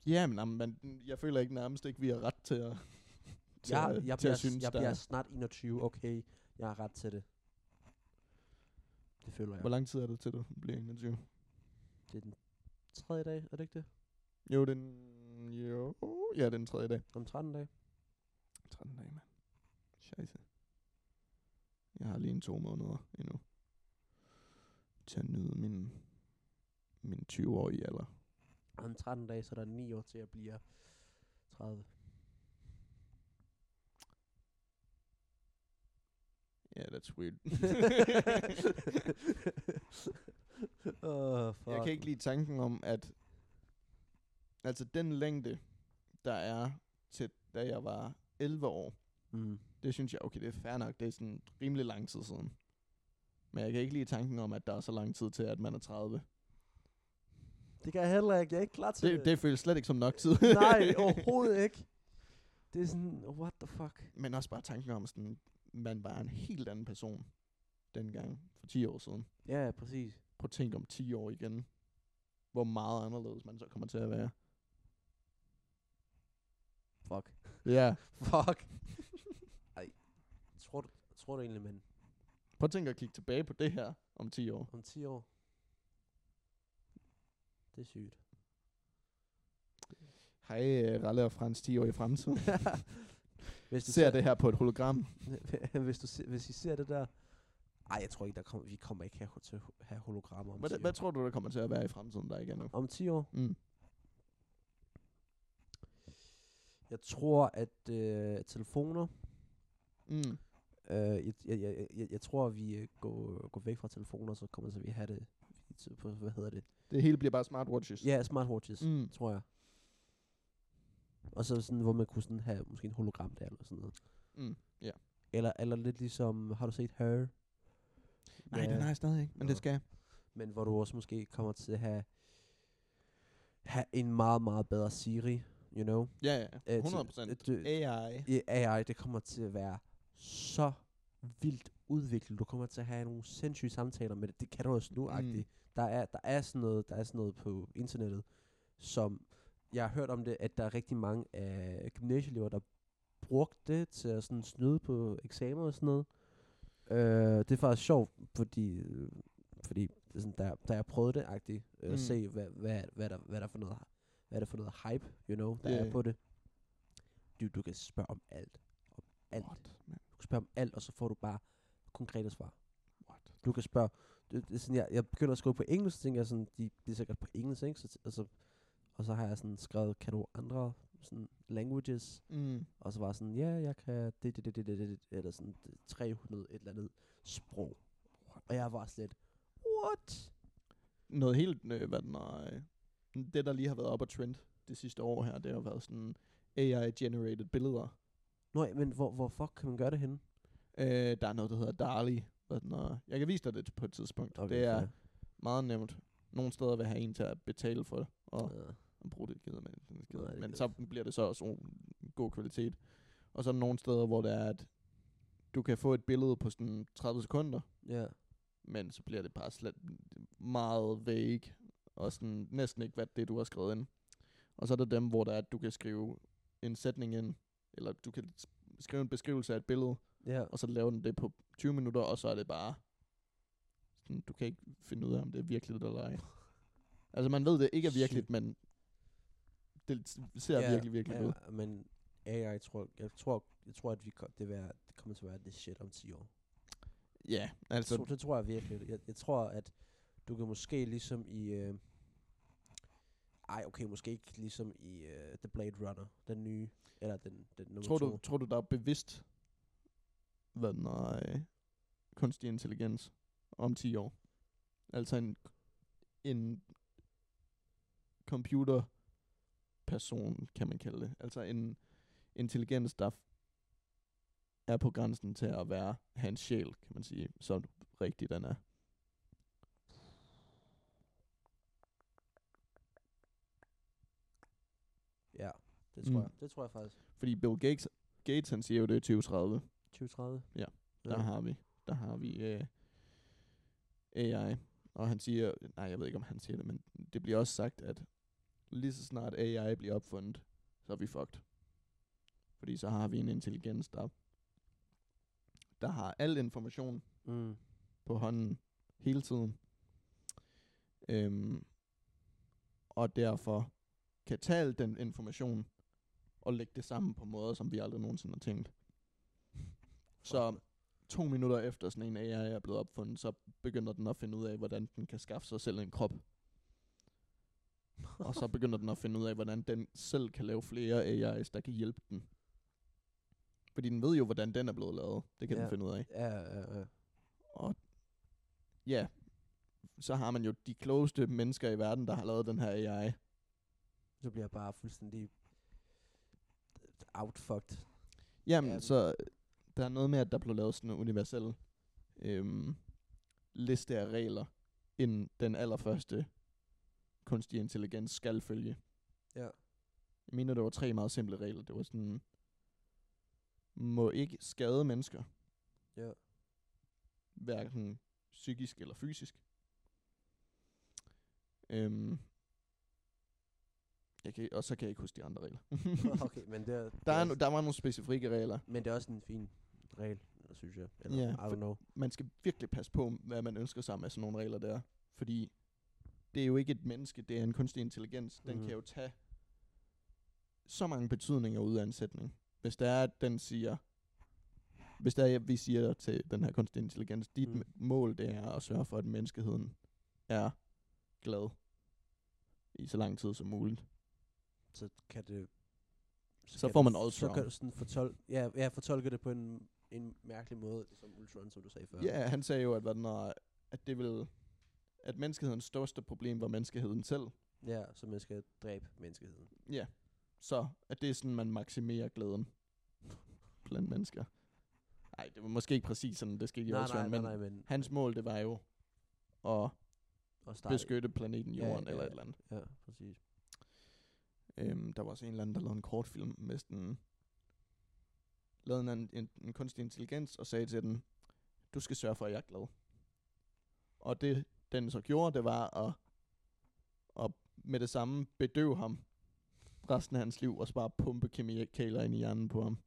S3: Ja, men jamen, man, jeg føler ikke nærmest ikke, vi har ret til at, til
S4: Jeg,
S3: at,
S4: jeg,
S3: til
S4: bliver,
S3: at synes,
S4: jeg
S3: der
S4: bliver
S3: er-
S4: snart 21, okay. Jeg har ret til det. Det føler jeg.
S3: Hvor lang tid er det til, du bliver 21?
S4: Det er den tredje dag, er det ikke det?
S3: Jo, den... Jo... Ja, det er den tredje dag.
S4: Om 13 dage?
S3: 13 dage, mand. Scheisse. Jeg har lige en to måneder endnu. Til at nyde min, min 20-årige alder.
S4: Om 13 dage, så er der 9 år til, at jeg bliver 30.
S3: Ja, yeah, that's weird.
S4: oh, fuck.
S3: jeg kan ikke lide tanken om, at... Altså, den længde, der er til, da jeg var 11 år,
S4: Mm.
S3: det synes jeg, okay, det er fair nok. Det er sådan rimelig lang tid siden. Men jeg kan ikke lide tanken om, at der er så lang tid til, at man er 30.
S4: Det kan jeg heller ikke. Jeg er ikke klar til det.
S3: Det, det føles slet ikke som nok tid.
S4: Nej, overhovedet ikke. Det er sådan, what the fuck?
S3: Men også bare tanken om, sådan, man var en helt anden person dengang, for 10 år siden.
S4: Ja, ja, præcis.
S3: Prøv at tænke om 10 år igen. Hvor meget anderledes man så kommer til at være.
S4: Fuck.
S3: Ja.
S4: Fuck. Ej. Tror du, tror du egentlig, men
S3: Prøv at tænke at kigge tilbage på det her om 10 år.
S4: om 10 år? Det er sygt.
S3: Hej, øh, Ralle og Frans, 10 år i fremtiden.
S4: hvis du
S3: Ser det her på et hologram.
S4: ser, hvis, du ser, hvis I ser det der... Ej, jeg tror ikke, der kommer, vi kommer ikke her til at have hologrammer om 10
S3: Hvad,
S4: år.
S3: hvad tror du, der kommer til at være i fremtiden, der ikke er nu?
S4: Om 10 år?
S3: Mm.
S4: Jeg tror, at øh, telefoner...
S3: Mm.
S4: Øh, jeg, jeg, jeg, jeg, jeg tror, at vi øh, går, går væk fra telefoner, så kommer så vi have det til- på, hvad hedder det?
S3: Det hele bliver bare smartwatches.
S4: Ja, smartwatches, mm.
S3: Mm.
S4: tror jeg. Og så sådan, hvor man kunne sådan have måske en hologram der, eller sådan noget.
S3: Mm. Ja.
S4: Eller, eller lidt ligesom, har du set Her?
S3: Nej, den har jeg stadig ikke, men
S4: Nå.
S3: det skal jeg.
S4: Men hvor du også måske kommer til at have, have en meget, meget bedre Siri, you know?
S3: Ja, ja,
S4: Øh,
S3: ja.
S4: til-
S3: 100 procent.
S4: øh, du-
S3: AI.
S4: Ja, AI, det kommer til at være så vildt udviklet. Du kommer til at have nogle sindssyge samtaler med det. Det kan du også nu, mm.
S3: Mm.
S4: der, er, der, er sådan noget, der er sådan noget på internettet, som jeg har hørt om det, at der er rigtig mange af gymnasieelever, der brugte det til at sådan snyde på eksamener og sådan noget. Øh, det er faktisk sjovt, fordi, øh, fordi det er sådan, da, da jeg prøvede det, agtigt, øh,
S3: Mm.
S4: at se, hvad, hvad, hvad, der, hvad der for noget hvad der for noget hype, you know, der
S3: Ja,
S4: yeah.
S3: ja.
S4: er på det. Du, du kan spørge om alt. Om alt.
S3: What, man?
S4: Du kan spørge om alt, og så får du bare konkrete svar.
S3: What?
S4: Du kan spørge, det, det er sådan, jeg, jeg begynder at skrive på engelsk, så tænker jeg sådan, de, det er sikkert på engelsk, ikke? Så, t- og, så, og så har jeg sådan skrevet, kan du andre sådan, languages?
S3: Mm.
S4: Og så var jeg sådan, ja, jeg kan det, det, det, det, det, det, eller sådan det- 300 et eller andet sprog. Og jeg var slet, what?
S3: Noget helt, øh, hvad den er, øh, det der lige har været op og trend det sidste år her, det har været sådan AI-generated billeder.
S4: Nå, men hvor, hvor fuck kan man gøre det henne?
S3: Øh, der er noget, der hedder DALI. Hvad den er. Jeg kan vise dig det på et tidspunkt. Okay, det er
S4: fair.
S3: meget nemt. Nogle steder vil have en til at betale for det, og
S4: Ja.
S3: at bruge det gider man ikke, det
S4: Nej,
S3: gider.
S4: det
S3: Men
S4: gider
S3: så bliver det så også en god kvalitet. Og så er der nogle steder, hvor det er, at du kan få et billede på sådan 30 sekunder,
S4: ja.
S3: men så bliver det bare slet meget vague, og sådan næsten ikke, hvad det er, du har skrevet ind. Og så er der dem, hvor der er, at du kan skrive en sætning ind, eller du kan s- skrive en beskrivelse af et billede,
S4: Ja.
S3: og så laver den det på 20 minutter, og så er det bare... Sådan, du kan ikke finde ud af, om det er virkeligt eller ej. Altså, man ved, det ikke er virkeligt, men det s- ser ja, virkelig, virkelig ja. ud.
S4: ja, Men AI, tror, jeg, tror, jeg tror, at vi kom, det, vil være, det kommer til at være det shit om 10 år.
S3: Ja,
S4: Altså,
S3: altså...
S4: det, det tror jeg virkelig. Jeg, jeg tror, at du kan måske ligesom i... Øh, ej, okay, måske ikke ligesom i øh, The Blade Runner, den nye, eller den, den nummer
S3: Tror
S4: to.
S3: du, tror du, der er bevidst, hvad den er, øh, kunstig intelligens om 10 år? Altså en, en computer person, kan man kalde det. Altså en intelligens, der er på grænsen til at være, have en sjæl, kan man sige, så rigtig den er.
S4: Ja, det tror
S3: Mm.
S4: jeg. Det tror jeg faktisk.
S3: Fordi Bill Gates, Gates han siger jo, det er 2030.
S4: 2030.
S3: Ja, Der har vi, der har vi øh, AI. Og han siger, nej, jeg ved ikke, om han siger det, men det bliver også sagt, at lige så snart AI bliver opfundet, så er vi fucked. Fordi så har vi en intelligens, der, der har al information
S4: Mm.
S3: på hånden hele tiden. Øhm, og derfor kan tage al den information og lægge det sammen på måder, som vi aldrig nogensinde har tænkt. Så to minutter efter sådan en AI er blevet opfundet, så begynder den at finde ud af, hvordan den kan skaffe sig selv en krop. og så begynder den at finde ud af, hvordan den selv kan lave flere AI's, der kan hjælpe den. Fordi den ved jo, hvordan den er blevet lavet. Det kan ja.
S4: Ja.
S3: den finde ud af.
S4: Ja, ja, ja.
S3: Og ja, så har man jo de klogeste mennesker i verden, der har lavet den her AI.
S4: Så bliver jeg bare fuldstændig outfucked.
S3: Jamen,
S4: Ja.
S3: så øh, der er noget med, at der blev lavet sådan en universel øhm, liste af regler, inden den allerførste kunstig intelligens skal følge.
S4: Ja.
S3: Jeg mener, det var tre meget simple regler. Det var sådan, må ikke skade mennesker.
S4: Ja.
S3: Hverken psykisk eller fysisk. Øhm, jeg kan, og så kan jeg ikke huske de andre regler.
S4: okay, men det er, det
S3: Der, er,
S4: også-
S3: no- der var nogle specifikke regler.
S4: Men det er også en fin regel, synes jeg. Eller,
S3: Ja,
S4: yeah, I
S3: for-
S4: don't know.
S3: Man skal virkelig passe på, hvad man ønsker sig med sådan nogle regler der. Fordi det er jo ikke et menneske, det er en kunstig intelligens. Den
S4: Mhm.
S3: kan jo tage så mange betydninger ud af en sætning. Hvis der er, at den siger, hvis der er, at vi siger til den her kunstig intelligens, dit
S4: Mm.
S3: mm. mål det er at sørge for, at menneskeheden er glad i så lang tid som muligt.
S4: så kan det...
S3: Så
S4: kan
S3: får
S4: det-
S3: man
S4: Så kan
S3: Ultron.
S4: du sådan fortol ja, ja, fortolke det på en, en mærkelig måde, som Ultron, som du sagde før.
S3: Ja, han sagde jo, at, hvad den er, at det vil at menneskehedens største problem var menneskeheden selv.
S4: Ja, så man skal dræbe menneskeheden.
S3: Ja. Så at det er sådan, man maksimerer glæden blandt mennesker. Nej, det var måske ikke præcis sådan, det skete i
S4: nej,
S3: Ultron,
S4: nej,
S3: men
S4: nej, nej, men...
S3: hans mål, det var jo at
S4: Og
S3: Start. beskytte planeten
S4: Ja,
S3: Jorden
S4: ja,
S3: ja, eller
S4: ja.
S3: et eller andet.
S4: Ja, præcis.
S3: Øhm, der var også en eller anden, der lavede en kortfilm med sådan... Lavede en, anden- en, en kunstig intelligens og sagde til den, du skal sørge for, at jeg er glad. Og det, den så gjorde, det var at, at med det samme bedøve ham resten af hans liv, og så bare pumpe kemikalier ind i hjernen på ham.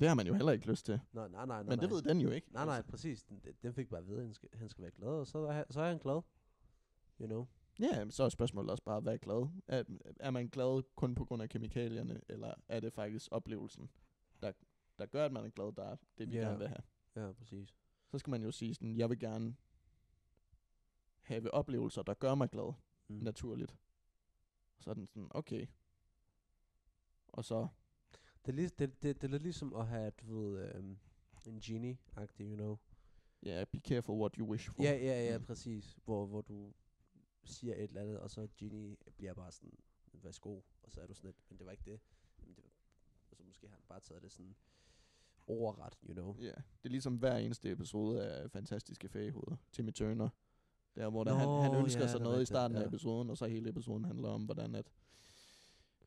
S3: Det har man jo heller ikke lyst til.
S4: Nå, nej, nej, nej.
S3: Men det
S4: nej.
S3: ved den jo ikke.
S4: Nej, nej, præcis. Den, den fik bare at vide, at han skal, han skal være glad, og så er, han- så er han glad. You know?
S3: Ja, jamen, så er spørgsmålet også bare, hvad er glad? Er, er man glad kun på grund af kemikalierne, eller er det faktisk oplevelsen, der, der gør, at man er glad, der er det, vi
S4: Ja.
S3: yeah. gerne vil have?
S4: Ja, præcis.
S3: Så skal man jo sige sådan, jeg vil gerne have oplevelser, der gør mig glad,
S4: Mm.
S3: mm. naturligt. Så er den sådan, okay. Og så,
S4: Det er, lige, det, det, det er lidt ligesom at have, du ved, øhm, en genie-agtig, you know?
S3: ja, yeah, be careful what you wish for.
S4: Ja, ja, ja,
S3: Mm.
S4: præcis. Hvor, hvor du siger et eller andet, og så Genie bliver bare sådan, værsgo, og så er du sådan lidt, men det var ikke det. Jamen, det var, og så måske har han bare taget det sådan overret, you know.
S3: Ja, det er ligesom hver eneste episode af Fantastiske Faghoveder, Timmy Turner. Der, hvor der, han,
S4: Nå,
S3: han ønsker
S4: ja,
S3: ja, sig
S4: det er
S3: noget i
S4: rigtigt,
S3: starten af
S4: ja.
S3: episoden, og så hele episoden handler om, hvordan at,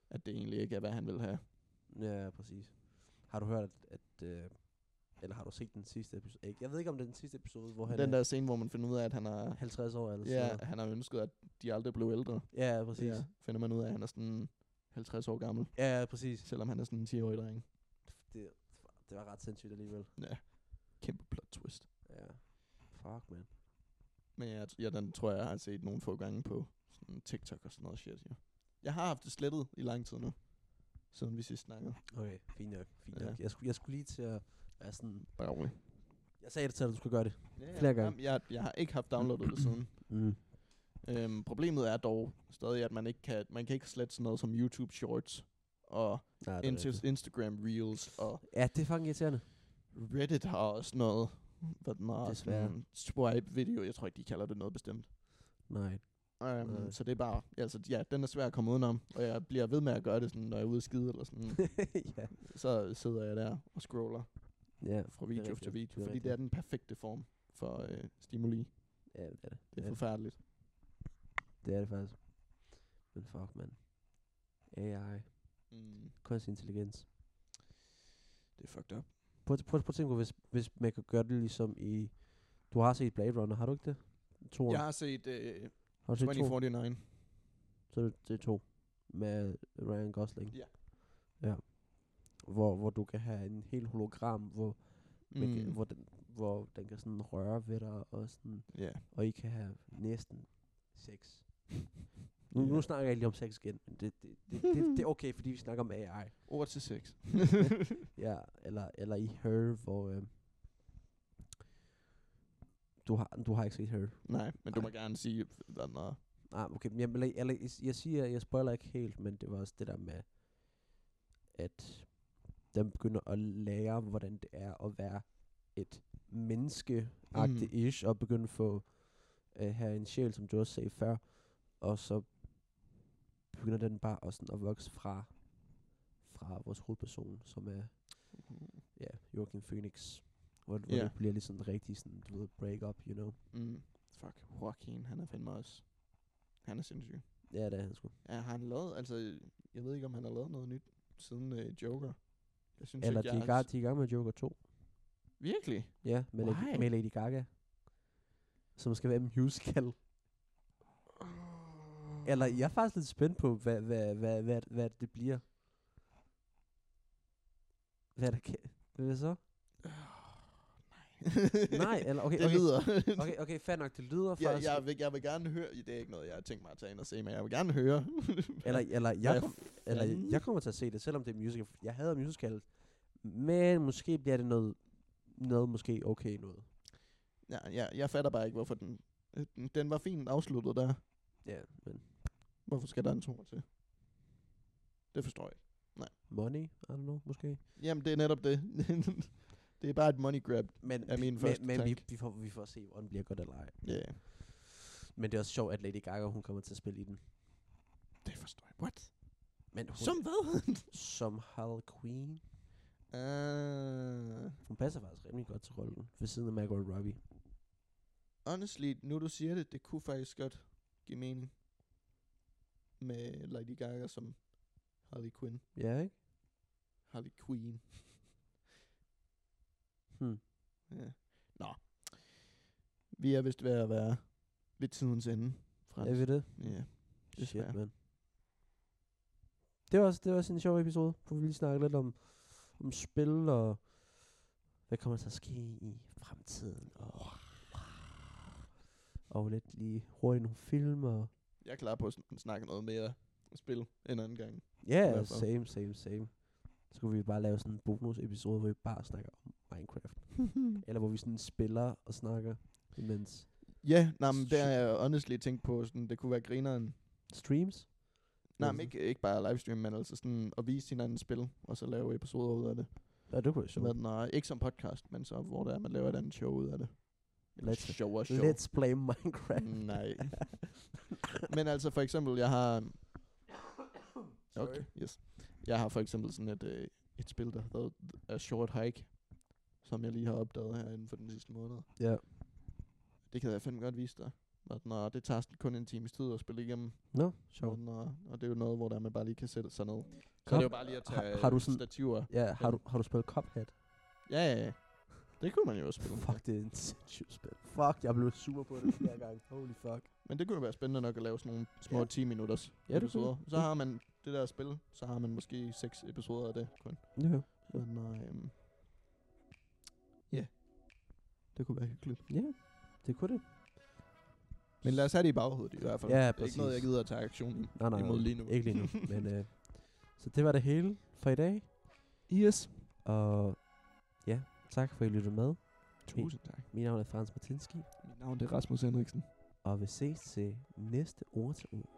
S3: at det egentlig ikke er, hvad han vil have.
S4: Ja, præcis. Har du hørt, at, at øh, eller har du set den sidste episode? Ikke? Jeg ved ikke, om det er den sidste episode, hvor han
S3: Den
S4: er
S3: der scene, hvor man finder ud af, at han har,
S4: 50 år eller sådan
S3: ja,
S4: noget.
S3: han har ønsket, at de aldrig blev ældre.
S4: Ja, præcis.
S3: Ja, finder man ud af, at han er sådan 50 år gammel,
S4: Ja, ja præcis.
S3: selvom han er sådan en 10-årig dreng.
S4: Det, det var ret sindssygt alligevel.
S3: Kæmpe plot twist.
S4: Ja. Fuck, man.
S3: Men jeg, ja, den tror jeg, jeg har set nogle få gange på sådan TikTok og sådan noget shit. Ja. Jeg har haft det slettet i lang tid nu, siden vi sidst snakkede.
S4: Okay, fint nok. Fint
S3: Ja.
S4: nok. Jeg, skulle, jeg skulle lige til at være sådan...
S3: Bare rolig.
S4: Jeg sagde det til dig, du skulle gøre det.
S3: Ja, ja.
S4: Flere gange.
S3: Jamen, jeg, jeg har ikke haft downloadet det siden.
S4: Mm.
S3: Øhm, problemet er dog stadig, at man ikke kan, man kan ikke slette sådan noget som YouTube Shorts og
S4: Nej, det er
S3: Inst-
S4: rigtigt.
S3: Instagram Reels og
S4: Ja, det er fucking irriterende.
S3: Reddit har også noget, hvad den har,
S4: Desværre.
S3: sådan swipe video, jeg tror ikke, de kalder det noget bestemt.
S4: Nej.
S3: Um,
S4: Nej.
S3: så det er bare, altså ja, den er svær at komme udenom, og jeg bliver ved med at gøre det sådan, når jeg er ude at skide eller sådan,
S4: ja.
S3: så sidder jeg der og scroller
S4: ja.
S3: fra
S4: det er
S3: video
S4: rigtigt,
S3: til video,
S4: det er
S3: fordi det
S4: rigtigt.
S3: er den perfekte form for øh, stimuli.
S4: Ja, det er det.
S3: Det er
S4: Ja.
S3: forfærdeligt.
S4: Det er det faktisk. Men fuck, man. AI.
S3: Mm,
S4: Kunstig intelligens.
S3: det er fucked up.
S4: Prøv, prøv, prøv at tænke på, hvis, hvis man kan gøre det ligesom i... Du har set Blade Runner, har du ikke det? To
S3: Jeg har set øh,
S4: har du set to?
S3: 2049.
S4: Så er det, det er to. Med Ryan Gosling.
S3: Ja.
S4: Ja. Hvor, hvor du kan have en helt hologram, hvor, mm. kan,
S3: Mm.
S4: hvor, den, hvor den kan sådan røre ved dig, og, sådan,
S3: Ja.
S4: og I kan have næsten sex. Nu,
S3: Ja.
S4: nu snakker jeg lige om sex igen, men det, det, det, det, det er okay, fordi vi snakker om AI.
S3: Ord til sex.
S4: Ja, eller, eller i Her, hvor... Øh, du har, du har ikke set Her.
S3: Nej, men du må gerne sige, hvad den er.
S4: Ah, okay, men jeg, eller, eller, jeg, jeg siger, jeg spoiler ikke helt, men det var også det der med, at den begynder at lære, hvordan det er at være et menneske mm. ish, og begynde at få øh, have en sjæl, som du også sagde før, og så begynder den bare også sådan at vokse fra, fra vores hovedperson, som er ja, Joachim Phoenix, hvor, hvor
S3: Ja.
S4: det bliver ligesom rigtig sådan, du ved, break up, you know.
S3: Mm. Fuck, Joaquin, han er fandme også. Han er sindssyg.
S4: Ja, det er han sgu.
S3: Ja, har han lavet, altså, jeg ved ikke, om han har lavet noget nyt siden øh, Joker. Jeg synes
S4: Eller
S3: ikke,
S4: de
S3: jeg
S4: er, i gang, de er i gang med Joker 2.
S3: Virkelig?
S4: Ja, med, Lady,
S3: Why?
S4: med Lady Gaga. Som skal være en musical. Eller jeg er faktisk lidt spændt på, hvad, hvad, hvad, hvad, hvad det bliver. Hvad der kan... Hvad så? Nej, eller okay,
S3: Øh, det
S4: okay,
S3: lyder...
S4: okay, okay, fair nok, det lyder
S3: ja,
S4: faktisk...
S3: jeg, vil, jeg vil gerne høre... Det er ikke noget, jeg har tænkt mig at tage ind og se, men jeg vil gerne høre.
S4: Eller, eller,
S3: Hvad
S4: jeg kom, eller
S3: fanden?
S4: jeg kommer til at se det, selvom det er musical. Jeg hader musical, men måske bliver det noget, noget måske okay noget.
S3: ja, jeg, jeg fatter bare ikke, hvorfor den... den- Den var fint afsluttet der.
S4: Ja, men
S3: Hvorfor skal der en to til? Det forstår jeg ikke.
S4: money, I don't know, måske.
S3: Jamen, det er netop det. det er bare et money grab.
S4: Men,
S3: Er min
S4: vi-
S3: første
S4: men, men vi,
S3: tanke.
S4: vi, får, vi får se, om den bliver godt eller ej.
S3: Ja, yeah.
S4: Men det er også sjovt, at Lady Gaga, hun kommer til at spille i den.
S3: det forstår jeg. What?
S4: Men hun,
S3: Som hvad?
S4: som Harley Queen.
S3: uh,
S4: Hun passer faktisk rimelig godt til rollen, ved siden af Margot Robbie.
S3: honestly, nu du siger det, det kunne faktisk godt give mening. Med Lady Gaga som Harley Quinn.
S4: Ja, ikke?
S3: Harley Queen.
S4: Hmm.
S3: Ja. Nå. Vi er vist ved at være ved tidens ende. Frans.
S4: Er vi det?
S3: Ja. Desværre.
S4: Shit, man. Det var, også, det var også en sjov episode, hvor vi lige snakkede lidt om, om spil og hvad kommer der til at ske i fremtiden. Og, og lidt lige hurtigt nogle film. Og,
S3: Jeg er klar på at sn- snakke noget mere spil en anden gang.
S4: ja, yeah,
S3: hvert fald.
S4: same, same, same. Så kunne vi bare lave sådan en bonusepisode, hvor vi bare snakker om Minecraft. Eller hvor vi sådan spiller og snakker, imens
S3: Ja, nej, men
S4: Shit.
S3: det har jeg honestly tænkt på, sådan, det kunne være grineren.
S4: streams.
S3: Nej,
S4: Altså.
S3: men ikke, ikke bare livestream, men altså sådan at vise hinanden spil, og så lave episoder ud af det.
S4: Ja, det kunne være
S3: Så
S4: sjovt.
S3: med, når, ikke som podcast, men så hvor det er, man laver et andet show ud af det. Eller
S4: Let's-
S3: show og show.
S4: Let's play Minecraft.
S3: Nej. Men altså for eksempel, jeg har... Okay, yes. Jeg har for eksempel sådan et, øh, et spil, der hedder A Short Hike, som jeg lige har opdaget her inden for den sidste måned.
S4: Ja.
S3: Det kan jeg fandme godt vise dig. Og når det tager sådan kun en times tid at spille igennem,
S4: Nå, sjovt.
S3: og, og, og det er jo noget, hvor der man bare lige kan sætte sig ned. Mm.
S4: Cup-
S3: Så det er jo bare lige at
S4: har-
S3: tage øh,
S4: har du sådan-
S3: stativer.
S4: Ja, har
S3: Ja.
S4: du, har du spillet Cuphead?
S3: Ja, ja, ja. Det kunne man jo også spille.
S4: Fuck, det er en sindssygt spil. Fuck, jeg blev super på det hver gang. Holy fuck.
S3: Men det kunne jo være spændende nok at lave sådan nogle små
S4: Ja.
S3: ja. 10 minutters
S4: Ja, det
S3: episoder.
S4: kunne-
S3: Så har man det der spil, så har man måske 6 episoder af det kun.
S4: Ja.
S3: Men nej, øhm, ja, det kunne være hyggeligt.
S4: Ja, det kunne det.
S3: Men lad os have det i baghovedet i hvert fald.
S4: Ja,
S3: det er
S4: præcis.
S3: ikke noget, jeg gider at tage aktion i.
S4: Nej, nej,
S3: Imod lige nu.
S4: Ikke lige nu, men... Øh, så det var det hele for i dag.
S3: Yes.
S4: Og ja, tak for at I lyttede med.
S3: Tusind tak.
S4: Mit navn er Frans Martinski,
S3: Mit navn det er Rasmus Henriksen.
S4: og vi ses til næste ord til ord.